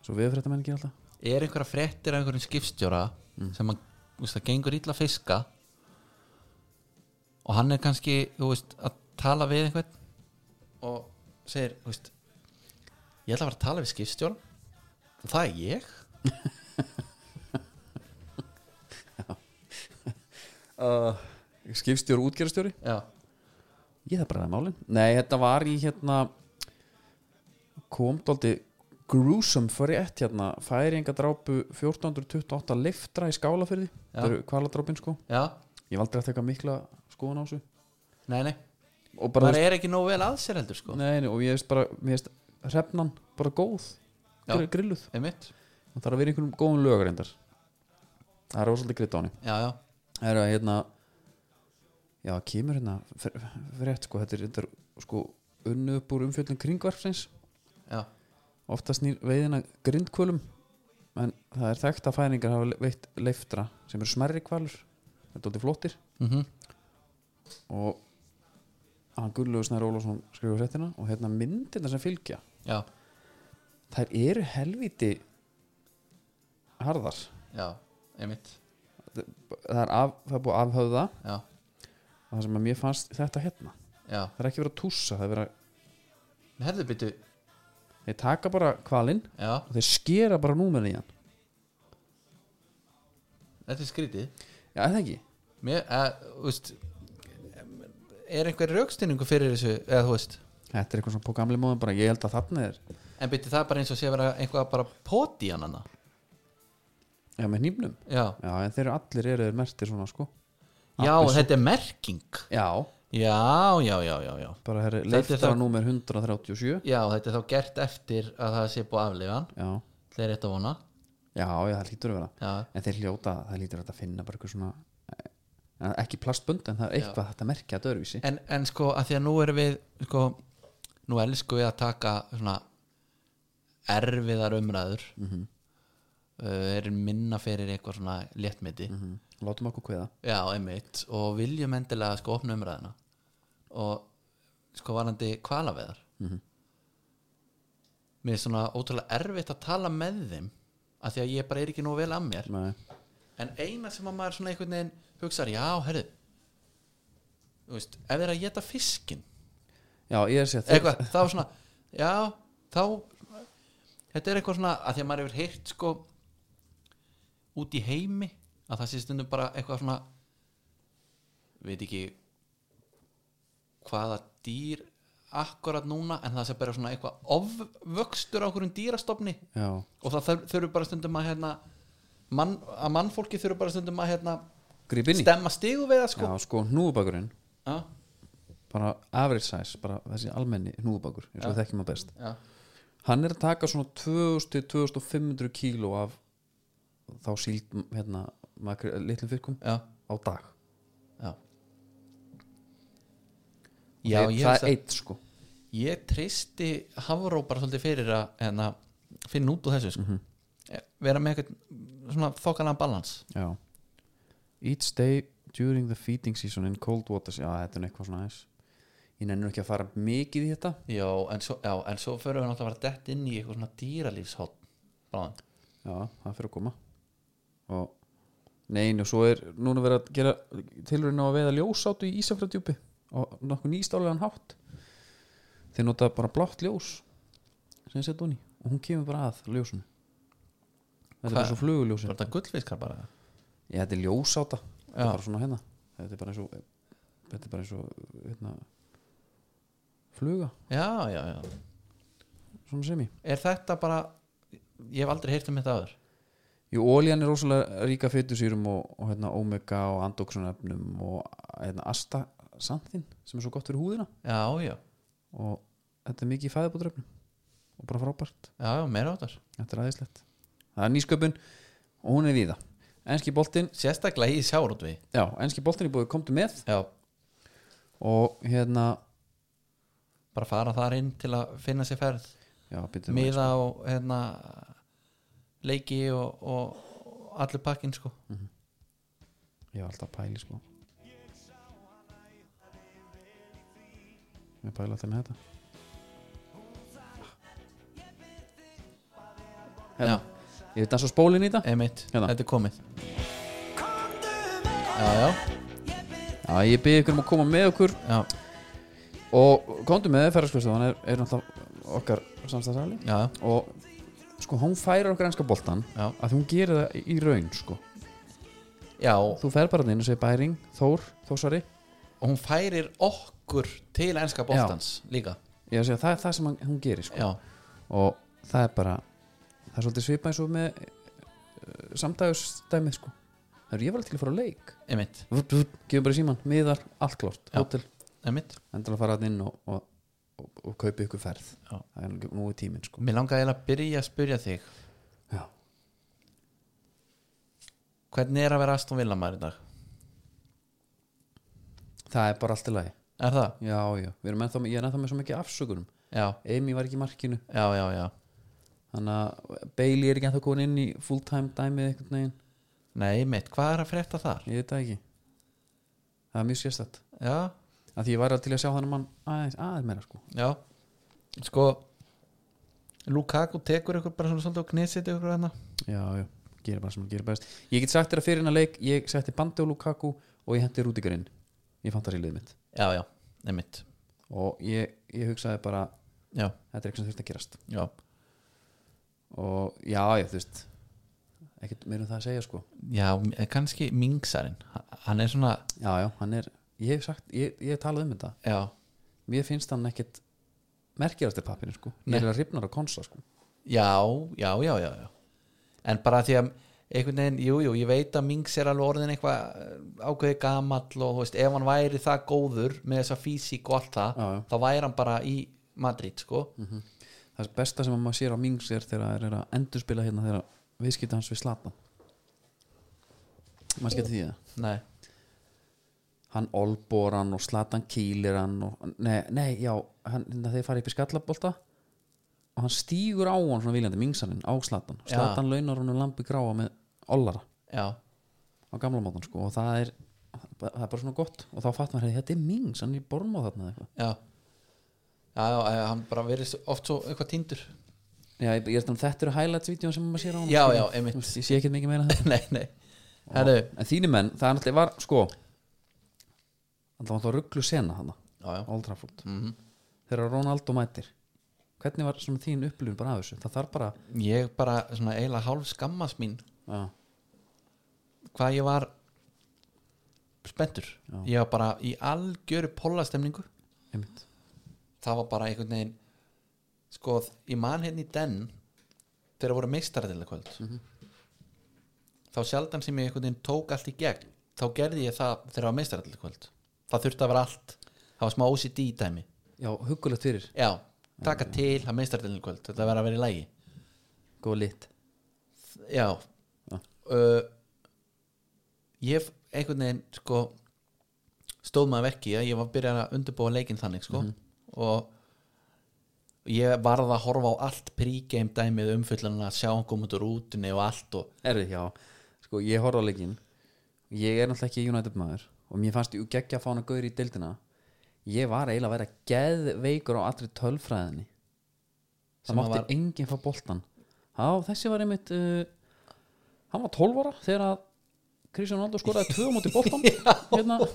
Svo við fyrir þetta menn ekki alltaf Er einhverja fréttir af einhverjum skipstjóra sem að, þú veist, það gengur illa að fiska og hann er kannski, þú veist, að tala við einhvern og segir, þú veist ég ætla að fara að tala við skipstjóra og það er ég uh, skipstjóri og útgerðstjóri Já, ég það bara að málin nei þetta var í hérna kom dálti gruesome fyrir ett hérna færinga drápu 1428 liftra í skálafyrði Já. það eru kvaladrápin sko já, ég valdi að teka mikla skoðan á þessu nei, nei og bara, maður er ekki nógu vel að sér heldur sko nei, nei, og ég veist bara mér veist hrefnan bara góð Já. gr- grilluð, einmitt, það þarf að vera í einhverjum góðum lögarindar það er rosalega gritt á henni já já, Það eru að hérna Já, kemur hérna fr- frétt sko, þetta er, þetta er sko unnu upp úr umfjöldin kringvarpsins já. oftast nýr veiðina grindkvölum en það er þekkt að færingar hafa le- veitt leiftra sem eru smerri kvalur þetta er dóttir flottir Mm og hann Guðlaugur Snær Ólafsson skrifur fréttina og hérna myndirna sem fylgja já, þær eru helviti harðar já, einmitt það er, af, það er búið að afhöfða já, og það sem að mér fannst þetta hérna já, það er ekki verið að tússa, það er verið að herðu byttu þeir taka bara kvalinn já, og þeir skera bara númerið í hann þetta er skrítið já, er það ekki, mér, að, úst er einhver raukstinningu fyrir þessu eða þú veist, þetta er eitthvað svona på gamli móðum bara, ég held að þarna er en byttu það er bara eins og sé að vera einhvað bara poti hann hana já, með hnífnum, já, já, en þeir eru allir eru þeir mertir svona, sko já, Appelsín- þetta er merking já, já, já, já, já, já bara herri, Þetta er leiftara það- númer 137 já, þetta er þá gert eftir að það sé búið að aflifa hann já, já, það er rétt að vona já, það lítur að vera já, en þeir hljóta, það lítur að finna bara eitthvað svona eh, ekki plastbönd, en það er eitthvað já. þetta merkja að dörvísi en, en sko að því að nú erum við sko, nú elskum við að taka svona erfiðar umræður mm -hmm. erum minna fyrir eitthvað svona léttmeti Mhm. látum okkur kveða já, einmitt, og viljum endilega sko opna umræðina og sko varandi hvalaveðar mm -hmm. mér er svona ótrúlega erfitt að tala með þeim að því að ég bara er ekki nú vel að mér Nei. en eina sem að maður svona einhvern veginn hugsar, já, herðu þú veist, ef þeir eru að geta fiskinn já, ég er að segja þeir- eitthvað, þá svona já, þá þetta er eitthvað svona, að því að maður hefur heyrt sko út í heimi að það sé stundum bara eitthvað svona veit ekki hvaða dýr akkurat núna, en það sé bara svona eitthvað ofvöxtur á einhverjum dýrastofni já, og það þurf- þurfur bara stundum að hérna, mann, að mannfólki þurfur bara stundum að hérna, gríp inn í stemma stigu við það sko já, sko, hnúðubakurinn já, bara average size, bara þessi almenni hnúðubakur, eins og við þekkjum að best já, hann er að taka svona 2000-2500 kíló af þá síld hérna, makri, litlum fyrkum já, á dag já. Og Já, þeir, ég það veist er að- eitt sko ég treysti Hafró bara svolítið fyrir að hérna, finna út úr þessu sko. Mhm. vera með eitthvað svona þokkalega balans já. each day during the feeding season in cold waters já þetta er nú eitthvað svona aðeins ég nennur ekki að fara mikið í þetta já, en svo, já, en svo förum við náttúrulega að vera dett inn í eitthvað svona dýralífshótt bráðan já það fyrir að koma og nein og svo er núna verið að gera tilraun á að veiða ljósátu í Ísafræðdjúpi og nokkuð nýstálegan hátt þeir nota bara blátt ljós sem setja hún í og hún kemur bara að ljósunu þetta er Hvað- bara svo fluguljósin var þetta gullfiskar bara Já, þetta er ljósáta Þetta er Já. bara svona hérna Þetta er bara eins og Þetta er bara eins og hérna, Fluga, já, já, já svona sem í er þetta bara ég hef aldrei heyrt um þetta aður Jú, ólían er rosalega ríka fytusýrum og, og hérna, omega og andóksunefnum og hérna, astasantin sem er svo gott fyrir húðina já, já, og þetta er mikið í fæðabótrefnum og bara frábært, já, já, meira áttar þetta er aðeinslegt Það er nýsköpun og hún er víða Enski boltinn, sérstaklega í sjárótvi já, enski boltinn er búið komdu með já, og hérna bara fara þar inn til að finna sér ferð já, býtum miða og hérna leiki og, og allir pakkin sko Ég var alltaf að pæli sko Ég pæla alltaf með þetta Hérna, Ég veit að svo spólin í þetta einmitt, Hérna. þetta er komið já, já, Já, ég byrði ykkur um að koma með okkur já, Og komdu með ferðarskvistofan er, er náttúrulega okkar samstæðsali já, Og sko, hún færir okkar enska boltan Já. Að hún gerir það í- í raun sko já og Þú fer bara þinn og segir Bæring, Þór, Þórsari hún færir okkur til enska bóttans líka Ég er að segja, það er það sem hann- hún gerir sko já, og það er bara það er svolítið svipað eins og með uh, samdægustæmið sko það er ég var alveg til að fara á leik einmitt gefum bara í síman, miðar, allt klart, hótel einmitt endur að fara hann inn og, og, og, og kaupa ykkur ferð Já. það er nú- nú í tíminn sko Mér langaði eiginlega að byrja að spyrja þig já. Hvernig er að vera Aston Villa maður í dag? það er bara allt í lagi Er það? já, já. Við erum ennþá, með- ég er ennþá með svo mikið afsökunum Já, Amy var ekki í markinu já, já, já þannig að Bailey er ekki ennþá komin inn í fulltime dæmið einhvern veginn Nei, mitt, hvað er að frétta þar? ég veit það ekki það er mjög sérstætt Já, að því ég væri alveg til að sjá þannig mann aðeins aðeins meira sko já Sko Lukaku tekur ykkur bara svona svolítið og knisið ykkur hérna. hana já, já, gera bara sem hann gerir best ég get sagt þér að fyrir hennar leik ég setti bandi á Lukaku og ég hendi Rúdíkar inn ég fann það sér liðið mitt Já, já, einmitt og ég, ég hugsaði bara Já, þetta er eitthvað sem þurft að gerast já, og já, ég þú veist ekkert meira um það að segja sko já, eh, kannski Mingsarinn, hann er svona já, já, hann er, ég hef sagt, ég, ég hef talað um þetta Já, mér finnst hann ekkert merkjast í pappinu sko, Nei. ég er að ripnar á konsa sko Já, já, já, já, já. En bara því að einhvern veginn, jú, jú, ég veit að Minks er alveg orðin eitthvað eh, ákveði gamall og þú veist, ef hann væri það góður með þessa físík og allt það, Já, já. þá væri hann bara í Madrid, sko. það besta sem maður sér á Mings er þegar það er að endurspila hérna þegar viðskipta hans við Slatan maður skipti því það Nei, hann olbor hann og Slatan kýlir hann og, nei, nei, já, hann, hérna, þeir fara upp í skallabolta og hann stígur á hann svona viljandi Mingsaninn á Slatan Já. Slatan launar hann um lampi gráa með ollara já, á gamla mátan sko og það er, það er bara svona gott og þá fattum maður að þetta er Mings, hann er í bornmáð þarna eða eitthvað já. Já, já, eh, hann bara verið oft svo eitthvað tindur. Já, ég, ég er þannig þetta eru highlights-vídeón sem maður sér á hann Já, já, einmitt. Ég sé ekkert mikið meira en það nei, nei. Herru, En þínu menn, það er náttúrulega var, sko Það var þá rugglu sena hana já, já. Old Trafford Mm Þegar Ronaldo mætir Hvernig var svona þín upplifun bara af þessu? Það þarf bara Ég bara svona eiginlega hálf skammast mín Já, hvað ég var spenntur. Já. Ég var bara í algjöru pólastemningu. einmitt það var bara einhvern veginn sko, ég man hérna í den þegar voru meistaradilega kvöld þá sjaldan sem ég einhvern veginn tók allt í gegn þá gerði ég það þegar var meistaradilega kvöld það þurfti að vera allt það var smá OCD í dæmi Já, huggulegt fyrir, já, taka til að meistaradilega kvöld þetta verði að vera í lægi góð lit já Já. uh, ég f- einhvern veginn sko stóð maður verki að ég var byrjað að undirbúa leikinn þannig sko Mhm. og ég varð að horfa á allt pregame dæmið umfyllan að sjá hann koma út úr rútunni og allt og Erði, já, sko, ég horfði á leikinn Ég er náttúrulega ekki United maður Og mér fannst ég geggja að fá hana gaur í deildina Ég var eiginlega að vera geðveikur á allri tölfræðinni Sem Það mátti var- enginn fá boltan Já, þessi var einmitt uh, Hann var 12 ára þegar að Kristján Ronaldo skoraði tvö á móti boltan hérna,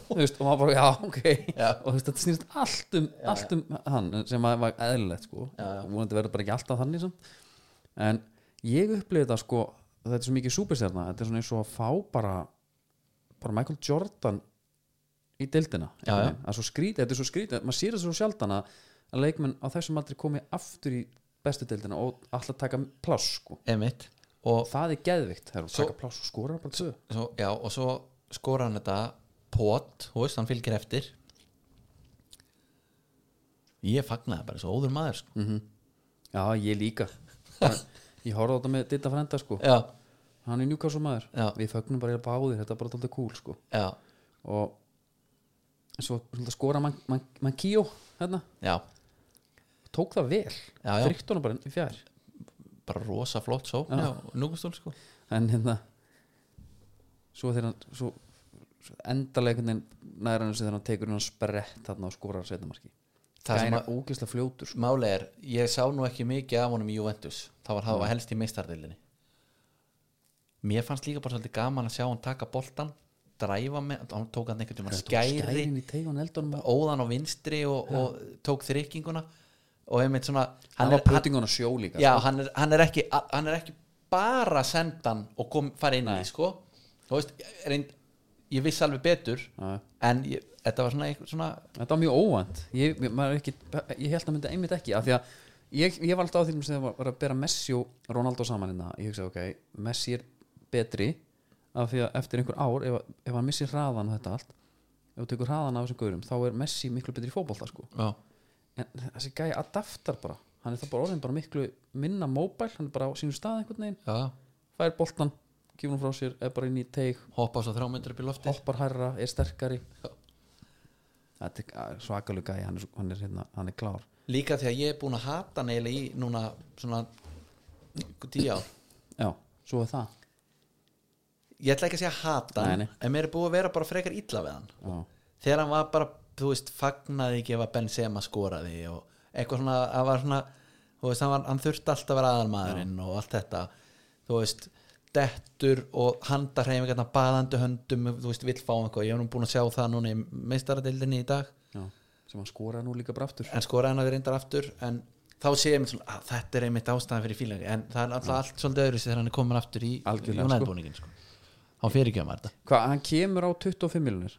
þú veist, og maður bara, já, ok Já. og þú veist, þetta snýrst allt um, allt um hann sem að var eðlilegt sko Já, já. og vonandi verður bara ekki alltaf þannig samt. en ég upplifði þetta sko þetta er svo mikið súperstjarna, þetta er svona eins og að fá bara bara Michael Jordan í deildina Já, einhvern já. veginn. Það er svo skrítið, þetta er svo skrítið maður sér það svo sjaldan að að leikmenn á þessum aldrei komi aftur í bestu deildina og alltaf taka pláss sko emitt og, og það er geðvikt, það er að Svo- taka pláss og skora bara tvö svo, já, og svo skora hann þetta pot, þú veist, hann fylgir eftir ég fagnaði bara svo óður maður sko. já, ég líka ég horfði á þetta með Ditta frenda sko já, hann er Newcastle maður, Já. við fögnum bara eiginlega báðir, þetta er bara tóldið cool sko já, og svo svona skora mann man, man kíó hérna, já tók það vel Já, já. þrygt honum bara í fjær bara rosa flott sókn Já. já, núgustól sko en hérna svo þegar hann svo, svo endarlega einhvern veginn næra hann þegar hann tekur hann sprett þarna og skorar setnamarki Það sem það er ógeðslega fljótur sko. Máli er, ég sá nú ekki mikið af honum í Juventus það var það var helst í meistardelinni Mér fannst líka bara svolítið gaman að sjá hann taka boltan dræfa með, hann tók hann einhvern tímann skæri, skærin í teigun eldunum og óðan á vinstri og, og tók þrykkinguna og einmitt svona hann hann var er, hann, putting hann að sjó líka já, hann, er, hann, er ekki, hann er ekki bara að senda hann og kom, fara inn í sko Þú veist, reynd, ég vissi alveg betur Já. en ég, þetta var svona, einhver- svona þetta var mjög óvænt ég, ég- maður er ekki, ég held að myndi einmitt ekki af því að ég, ég var alltaf á því sem það var- var að bera Messi og Ronaldo saman hérna ég hugsa ok, Messi er betri af því að eftir einhver ár ef, ef hann missir hraðan og þetta allt ef þú tekur hraðan af þessum gaurum þá er Messi miklu betri í fótbolta sko já, en þessi gæi adaptar bara hann er það bara orðin bara miklu minna móbæl hann er bara á sínu stað einhvern veginn já, fær boltan, kýfur hann frá sér er bara inn í teig, hoppa svo þrjá myndir upp í lofti hoppar hærra, er sterkari Já. þetta er svakalug gæi hann er, svo- hann er, hérna, hann er klár líka því að ég er búin að hata hann eiginlega í núna svona einhver tíu ár já, svo er það ég ætla ekki að segja hata Nei, hann nei. en mér er búið að vera bara frekar illa við hann já, þegar hann var bara, þú veist, fagnaði ekki ef að Benzema skoraði og eitthvað svona, hann var svona þú veist, hann, var, hann þurfti alltaf að vera aðalmaðurinn og allt þetta, þú veist dettur og handarhefingarna baðandi höndum, þú veist, vill fá einhvað ég hef nú búin að sjá það núna í meistaradildinni í dag já. sem hann skoraði nú líka bara aftur en skoraði hann að við reyndar aftur en þá sé ég mér svona, að þetta er einmitt ástæðan fyrir fílangi, en það er alltaf allt svolítið öðru þegar hann er komin aftur í Algjörlega, sko. jónæðbúningin sko. hann fyrir ekki að maður þetta hvað, hann kemur á 25 miljonir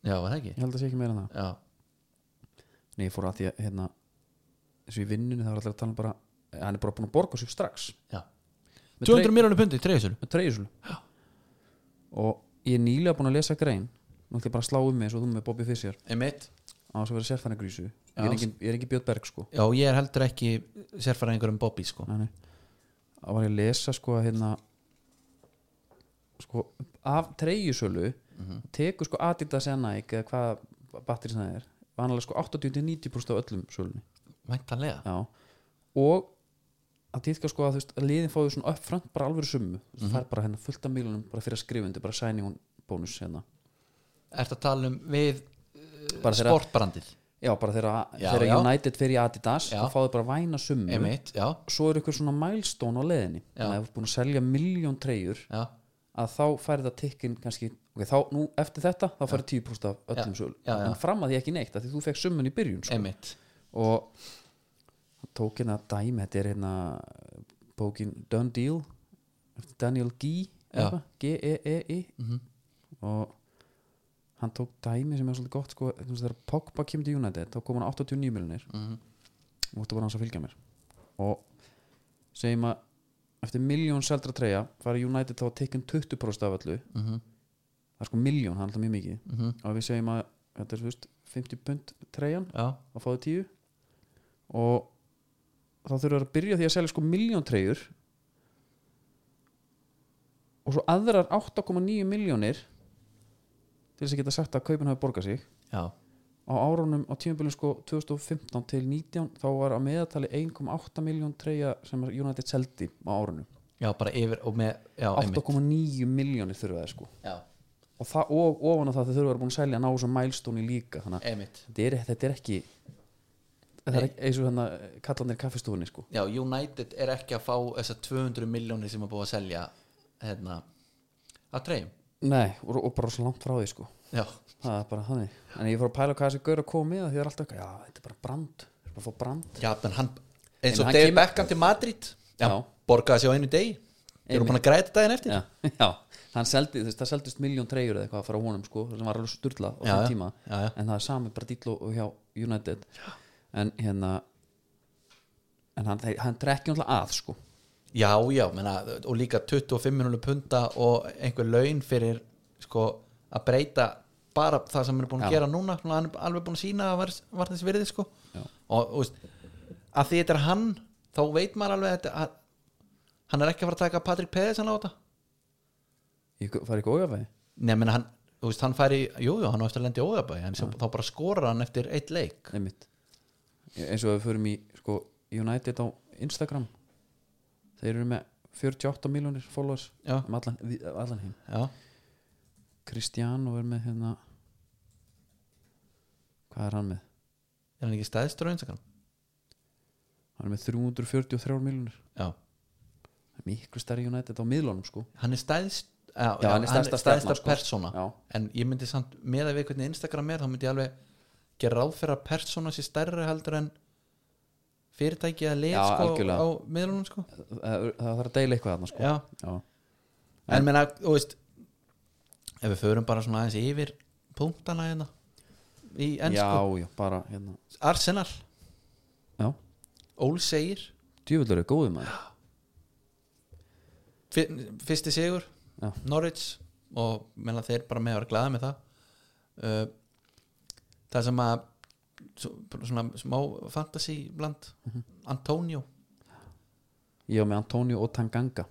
já, var það ekki? ég held að sé ekki meira en það Já, Nei, ég fór að því að hérna eins og í vinnunni þá er allir að tala um bara hann er bara búin að borga sér strax já. Með 200 miljónu pundi, treyðisölu með treyjusölu og ég er nýlega búin að lesa grein nú ætlum ég bara að slá um mig eins og þú með Bobby Fischer Einmitt. á þess að vera sérfæringarísu ég er engin, ég er engin Björn Berg sko Já, ég er heldur ekki sérfæringur um Bobby sko. Nei, nei. þá var ég að lesa sko að hérna sko af treyjusölu tekur sko Adidas eða Nike eða hvað batterið það er vanalega sko 80-90% af öllum sölunni Væntanlega Já. og að týðka sko að, þú veist, að liðin fáið svona uppfront bara alveg summu mm Mhm. það er bara hérna fullt af miljonum bara fyrir að skrifundi, bara sæni hún bónus hérna. Ertu að tala um við eh, bara þeirra, sportbrandið já, bara þeirra, Já, þeirra já. United fyrir Adidas, Já. þá fáið bara væna summu Einmitt, já, svo er ykkur svona milestone á leiðinni Já. þannig að ef þú ert búin að selja miljón treyjur já, að þá færi það tikkin kannski ok, þá, nú, eftir þetta, þá færi 10% af öllum söl, Já, já. en fram að því ekki neitt af því þú fekk summun í byrjun sko. einmitt og hann tók hérna dæmi þetta er hérna bókin Done Deal eftir Daniel Gee Já. eitthvað, G-E-E-I Mhm, og hann tók dæmi sem er svolítið gott sko, þú veist, þegar Pogba kemur til United þá kom hann á 89 miljonir mm mhm, -hmm. og þetta var hans að fylgja mér og segjum að eftir miljón seldra treyja fara United þá að tekja 20% af öllu Mhm. það er sko miljón, það er alltaf mjög mikið og við segjum að þetta er þú veist, 50 pund treyjan Já, að fá þau tíu og þá þurfum við að byrja því að selja sko miljón treyjur og svo aðrar 8,9 miljónir til þess að geta sagt að kaupin hafi borgað sig já, á árunum á tímabölum sko 2015 til 19 þá var að meðatali 1,8 miljón treyja sem United seldi á árunum já, bara yfir og með Já, einmitt 8,9 miljónir þurfa það sko Já, og, það, og ofan á það þau þurfa að vera búin að selja ná þessum mælstóni líka þannig að einmitt þetta er, þetta er ekki þetta er ekki eins og hérna kallanir kaffestofunni sko Já, United er ekki að fá þessar 200 miljónir sem er búið að selja hérna, að treyjum nei, og, og bara svo langt frá því sko Já, það er bara þannig, en ég fór að pæla hvað þessi gaur að koma með því það er alltaf eitthvað, já, þetta er bara brand þetta er bara að fá brand, já, en hann eins En og hann David kemur- Beckham til Madrid Já, Já. borgaði sér á einu degi Þeir eru Einmitt. búin að græta daginn eftir já, já hann seldi, þú veist, það seldist miljón treyjur eða eitthvað frá honum sko, sem var alveg sturla á Já, þeim já. tíma Já, já. en það er sami bara dýll og hjá United en hérna en hann, hann trekki náttúrulega að sko Já, já, menna, og líka 25 minúlu punta og einhver laun fyrir sko, að breyta bara það sem hann er búin að Já. gera núna svona, hann er alveg búin að sína að var, var þessi virði sko. Já. og þú veist að því þetta er hann, þá veit maður alveg að, þetta- að hann er ekki að fara að taka Patrik Peðis hann á þetta ég fari ekki ógafæði Nei, menna, hann, þú veist, hann færi, jú, jú, hann á eftir að lendi ógabæði, en sem, þá bara skora hann eftir eitt leik einmitt eins og við förum í sko, United á Instagram þeir eru með 48 miljónir followers Já. um allan, við- allan heim Já, Cristiano er með hérna hvað er hann með? er hann ekki stæðstur á einsakann? hann er með 343 miljónir Já, miklu stærri United á miðlunum sko hann er stæðst Já, Já, hann er stærsta stjarnan, stærsta sko. persóna já, en ég myndi samt með að við hvernig Instagram er þá myndi ég alveg gera ráð fyrir að persóna sér stærri heldur en fyrirtæki eða lið Já, sko, algjörlega. á miðlunum sko. það, það það þarf að deila eitthvað þarna sko Já, Já. en menna, þú veist ef við förum bara svona aðeins yfir punktana hérna í ennsku, já, já, bara hérna Arsenal já, Ól segir, djúvillur er góðum maður fyrsti sigur Já. Norwich og menna þeir bara með að vera glaða með það uh, það sem að svo- bara svona smá fantasy bland Mhm. Antonio ég var með Antonio og Tanganga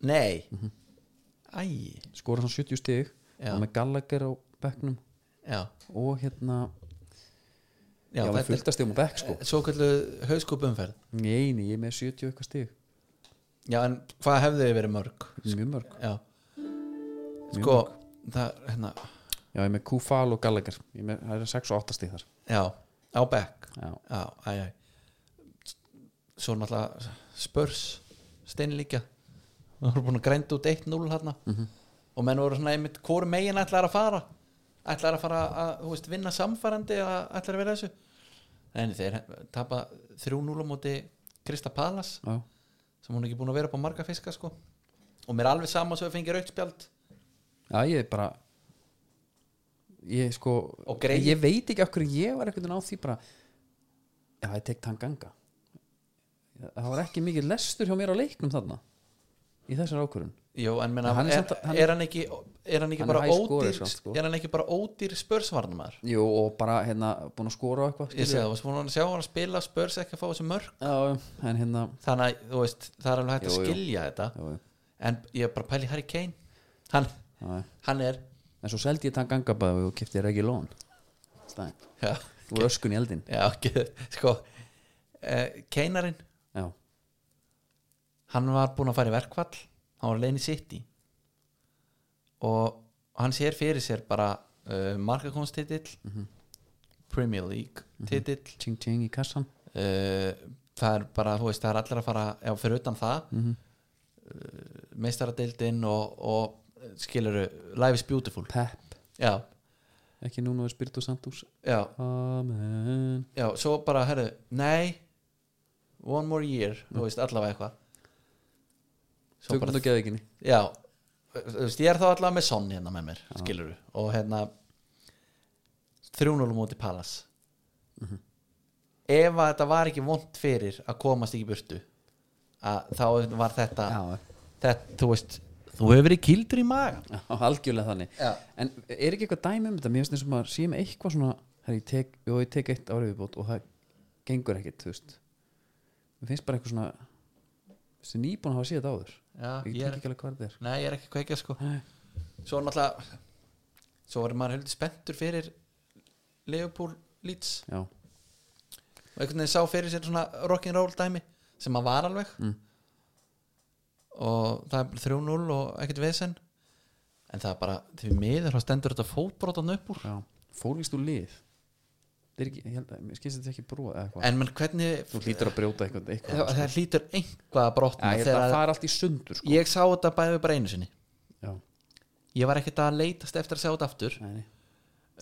nei Mhm. æ, skora svona 70 stig Já. og með Gallagher á bekknum já, og hérna já, já, þetta með fullt að stigum á bekk sko er svo kallu hauskupumferð nei, nei, ég er með 70 eitthvað stig já, en hvað hefðu þið verið mörg mjög mörg já, Mjög sko það, hérna, já, ég er með Kufal og Gallagher ég er með, það er 6 og 8 stig þar já, á back já, já, æ, æ svo náttúrulega spörs steinlíkja það voru búin að grænda út 1-0 hérna Mhm. og menn voru svona einmitt hvori megin ætlar að fara ætlar að fara að þú veist, vinna samfærandi eða ætlar að vera þessu en þeir tapa 3-0 á móti Krista Palas já, sem hún er ekki búin að vera upp á marga fiska sko og mér er alveg sama sem við fengið rautspjald já, ég er bara ég sko Og greið. ég veit ekki okkur ég var einhvern veginn á því bara já, ég tek Tanganga það var ekki mikið lestur hjá mér á leiknum þarna í þessar ákvörun Jú, en menna, En hann er er, samt- hann- er hann ekki er hann ekki Hann er bara high scorer ódýr samt, sko. er hann ekki bara ódýr spörsvarnamaður Jú, og bara hérna búin að skora og eitthvað skilur. ég sé það, þú varst búin að sjá hann spila spörs ekki að fá þessu mörg Já, en hérna þannig að þú veist, það er alveg hægt Jú, að jú. skilja þetta já, já, en ég er bara að pæla í Harry Kane hann, já. hann er En svo seldi ég þann gangabæði og kipti Regi Lón Stæn, já, þú er öskun í eldin já ekki, sko uh, Kanearinn, Já, hann var búin að fara í verkvall hann var leiðin í City og hann sér fyrir sér bara uh, markakonstitill Premier League Mhm. titill tjing tjing Mhm. í kassan uh, það er bara, þú veist, það er allir að fara já, fyrir utan það Mhm. mm -hmm. uh, meistaradildin og, og skiluru, life is beautiful Pep, já, ekki núna við Spiritu Santos já, Amen já, svo bara, herru nei, one more year þú veist, allavega eitthvað Svo Tökum bara- þetta geðikinni já, þú veist, ég er þá allavega með sonn hérna með mér, skiluru og hérna 3-0 múti Palace Mhm. ef að þetta var ekki vond fyrir að komast ekki í burtu að þá var þetta Já, þetta, þú veist þú hefur verið kildur í maga já, algjörlega þannig Já. En er ekki eitthvað dæmi um þetta? Mér finnst þessum að sé með eitthvað svona Herri, ég tek, jó, ég tek eitt árið viðbót og það gengur ekkit, þú veist Mér finnst bara eitthvað svona Þessi nýbúin að hafa séð þetta áður já, Ég tek ég er, ekki alveg hvað þetta er nei, ég er ekki að kveikja sko Nei. svo náttúrulega svo var maður heldur spenntur fyrir Leopold Leeds Já, og einhvern veginn sá fyrir sér svona rock'n'roll dæmi sem maður var alveg Mm. og það er bara 3-0 og ekkert vesen en það er bara, því miður þá stendur þetta fótbrotan upp úr Já, fólkist úr lið Það er ekki, ég held að, mér skynst þetta ekki brúa eða eitthvað en menn hvernig, Þú hlýtur að brjóta eitthvað, eitthvað. það, það lítur einhvað að brotna Já, ég held að þegar það er allt í sundur sko. ég sá þetta bæði bara einu sinni Já, ég var ekkert að leitast eftir að sjá þetta aftur nei, nei.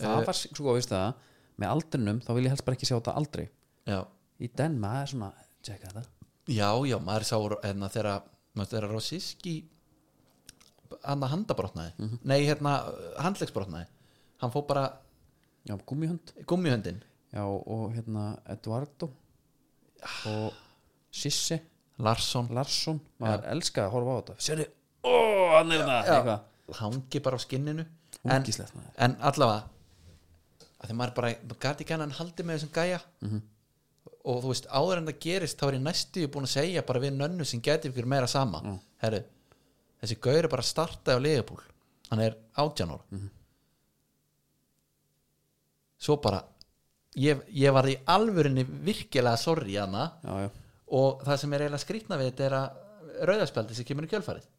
Það var, sko, veist það Með aldrinum, þá vil ég helst bara ekki sjá þetta aldrei já, Í den maður er svona, tjekka þetta já, já maður sá hérna, þegar, maður, þegar Rossiski hann að handabrotnaði nei, hérna, handlegsbrotnaði hann fór bara Já, gummihund gummihöndin Já, og hérna, Eduardo Og Sissi Larsson Larsson, maður elskaði að horfa á þetta Sérðu, ó, hann er það Eitthvað, hangi bara á skinninu en, ungislegt maður en allavega að því maður bara, maður gæti ekki hann hann haldi með þessum gæja og þú veist, áður en það gerist þá er ég næstu búin að segja bara við nönnu sem gæti ykkur meira sama herru, þessi gaur er bara að starta á liðbúl, hann er 18 ára svo bara ég, ég var í alvörinni virkilega sorgi hana Já, já, og það sem er eiginlega skrýtna við þetta er að rauðarspjaldi sem kemur í kjölfarið já,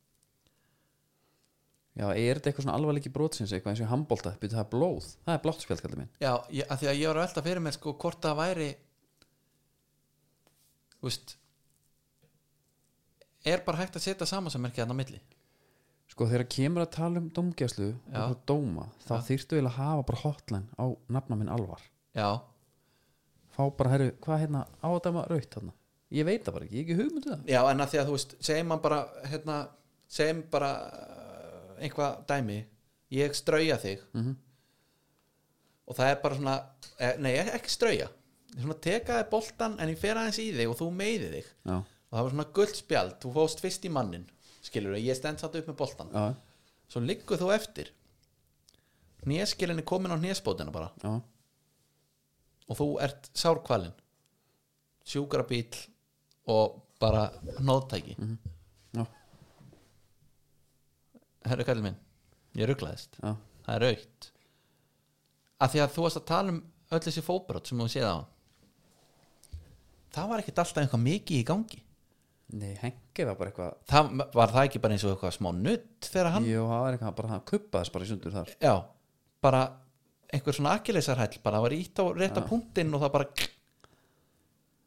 er þetta eitthvað svona alvarleiki brotsins eitthvað eins og handbólta, byrju það er blóð það er blátt spjald, kallar minn Já, ég, að því að ég var að velta fyrir mér sko hvort það væri Þú veist er bara hægt að setja samansammerkið hann á milli sko þegar kemur að tala um domgæslu Já. og dóma, þá þyrftu eiginlega að hafa bara hotline á nafna minn alvar Já, fá bara, herru, hvað hérna á að dæma raut þarna, ég veit það bara ekki, ég hef ekki hugmyndu það já en að því að þú veist segjum hann bara, hérna segjum bara uh, einhvað dæmi ég strauja þig Mhm. og það er bara svona eh, nei, ek- ekki strauja svona tekaði boltan en ég fer aðeins í þig og þú meiði þig já, og það var svona guldspjald, þú fóst fyrst í mannin skilur ég stend satt upp með boltan já, svo liggur þú eftir Hneskilin er komin á hnespótina bara já, og þú ert sárkvalin sjúkrabíl og bara nóðtæki mm -hmm. já, Herru kallið minn, ég rugglaðist já, það er aukt að því að þú varst að tala um öll þessi fóbrot sem þú séð á hann það var ekkert alltaf eitthvað mikið í gangi nei, hengi var bara eitthvað það, var það ekki bara eins og eitthvað smá nutt þegar hann, jú, það var eitthvað, bara það kuppaðist bara í sundur þar já, bara einhver svona akkilisarhæll, bara það var ítt á rétta punktinn og það bara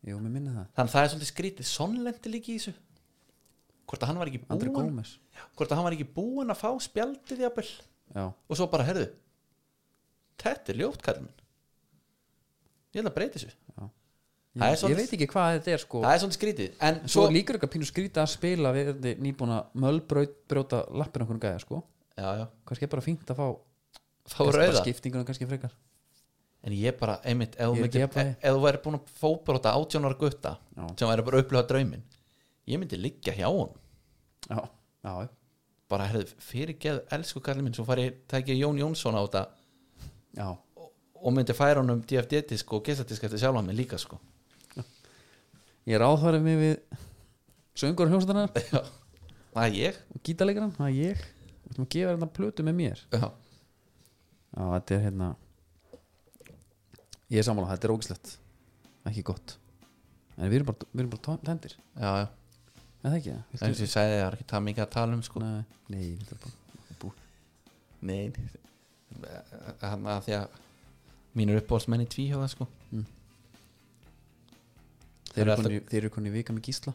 jú, mér minni það, þannig að það er svolítið skrítið, sonlendi líki í þessu hvort að hann var ekki Andri búin Gómez hvort að hann var ekki búin að fá spjaldið jafnvel já, og svo bara, herðu þetta er ljótt kallum minn ég ætla að breyti þessu ég, Það er ég svolítið- veit ekki hvað þetta er sko það er svona skrítið, en en svo svo, er líka eitthvað pínu skrýta að spila við erum nýbúin að mölbraut brjóta lappin okkur gæja sko já, já, kannski er bara fínt að fá þá rauða skiptinguna kannski frekar en ég bara, einmitt, ef þú Ég er myndir- ekki jafnvægi. ef þú væri búin að fóbrota átjónar gutta Já. sem væri bara að upplifa drauminn ég myndi liggja hjá hún já, já, já, bara, herðu, fyrirgeðu, elsku kallum minn svo fari, tæki ég Jón Jónsson á þetta já. og myndi færa honum DFD-disk og gestatisk eftir sjálf hann minn líka, sko ég ráðfærið mig við söngur hljómsætana já, það er ég og gítarleikaran, það er ég Þú ætlum að gefa þér þetta plötu með mér já, já, þetta er hérna ég er sammála, þetta er ógislegt ekki gott en við erum bara, við erum bara tendir, já, já. er það ekki? eins og ég sagði, það er ekki það mikið að tala um, sko nei, nei, þetta er bara bú Nei Þannig að því að Mínur uppbólsmenn í tvíhjóða sko þeir eru alltaf- konir, þeir eru konir vika með gísla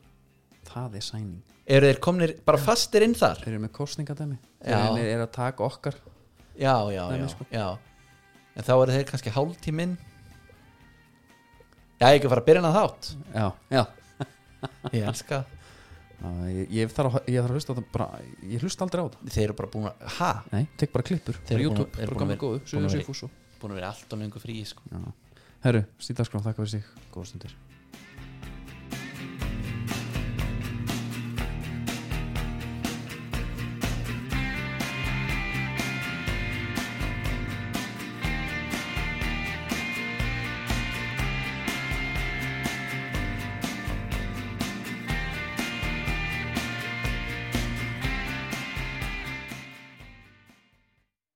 það er sæning, Eru þeir komnir bara fastir inn þar? þeir eru með kostningadæmi Já. þeir eru að taka okkar Já, já, Nei, já, nei, sko. já En þá eru þeir kannski hálftíminn Já, ég ekki að fara að byrja hann þátt já, já Ég elska Já, ég, ég þarf að, ég þarf að hlusta á það bara, ég hlusta aldrei á það Þeir eru bara búin að, ha? nei, tek bara klippur, Þeir bara eru búin- YouTube, bara eru búin að gammal vera- góðu búin Suður að vera- Sigfús og Búin að vera allt og lengur frí sko herru, Stíðarskrá, þakka fyrir sig góða stundir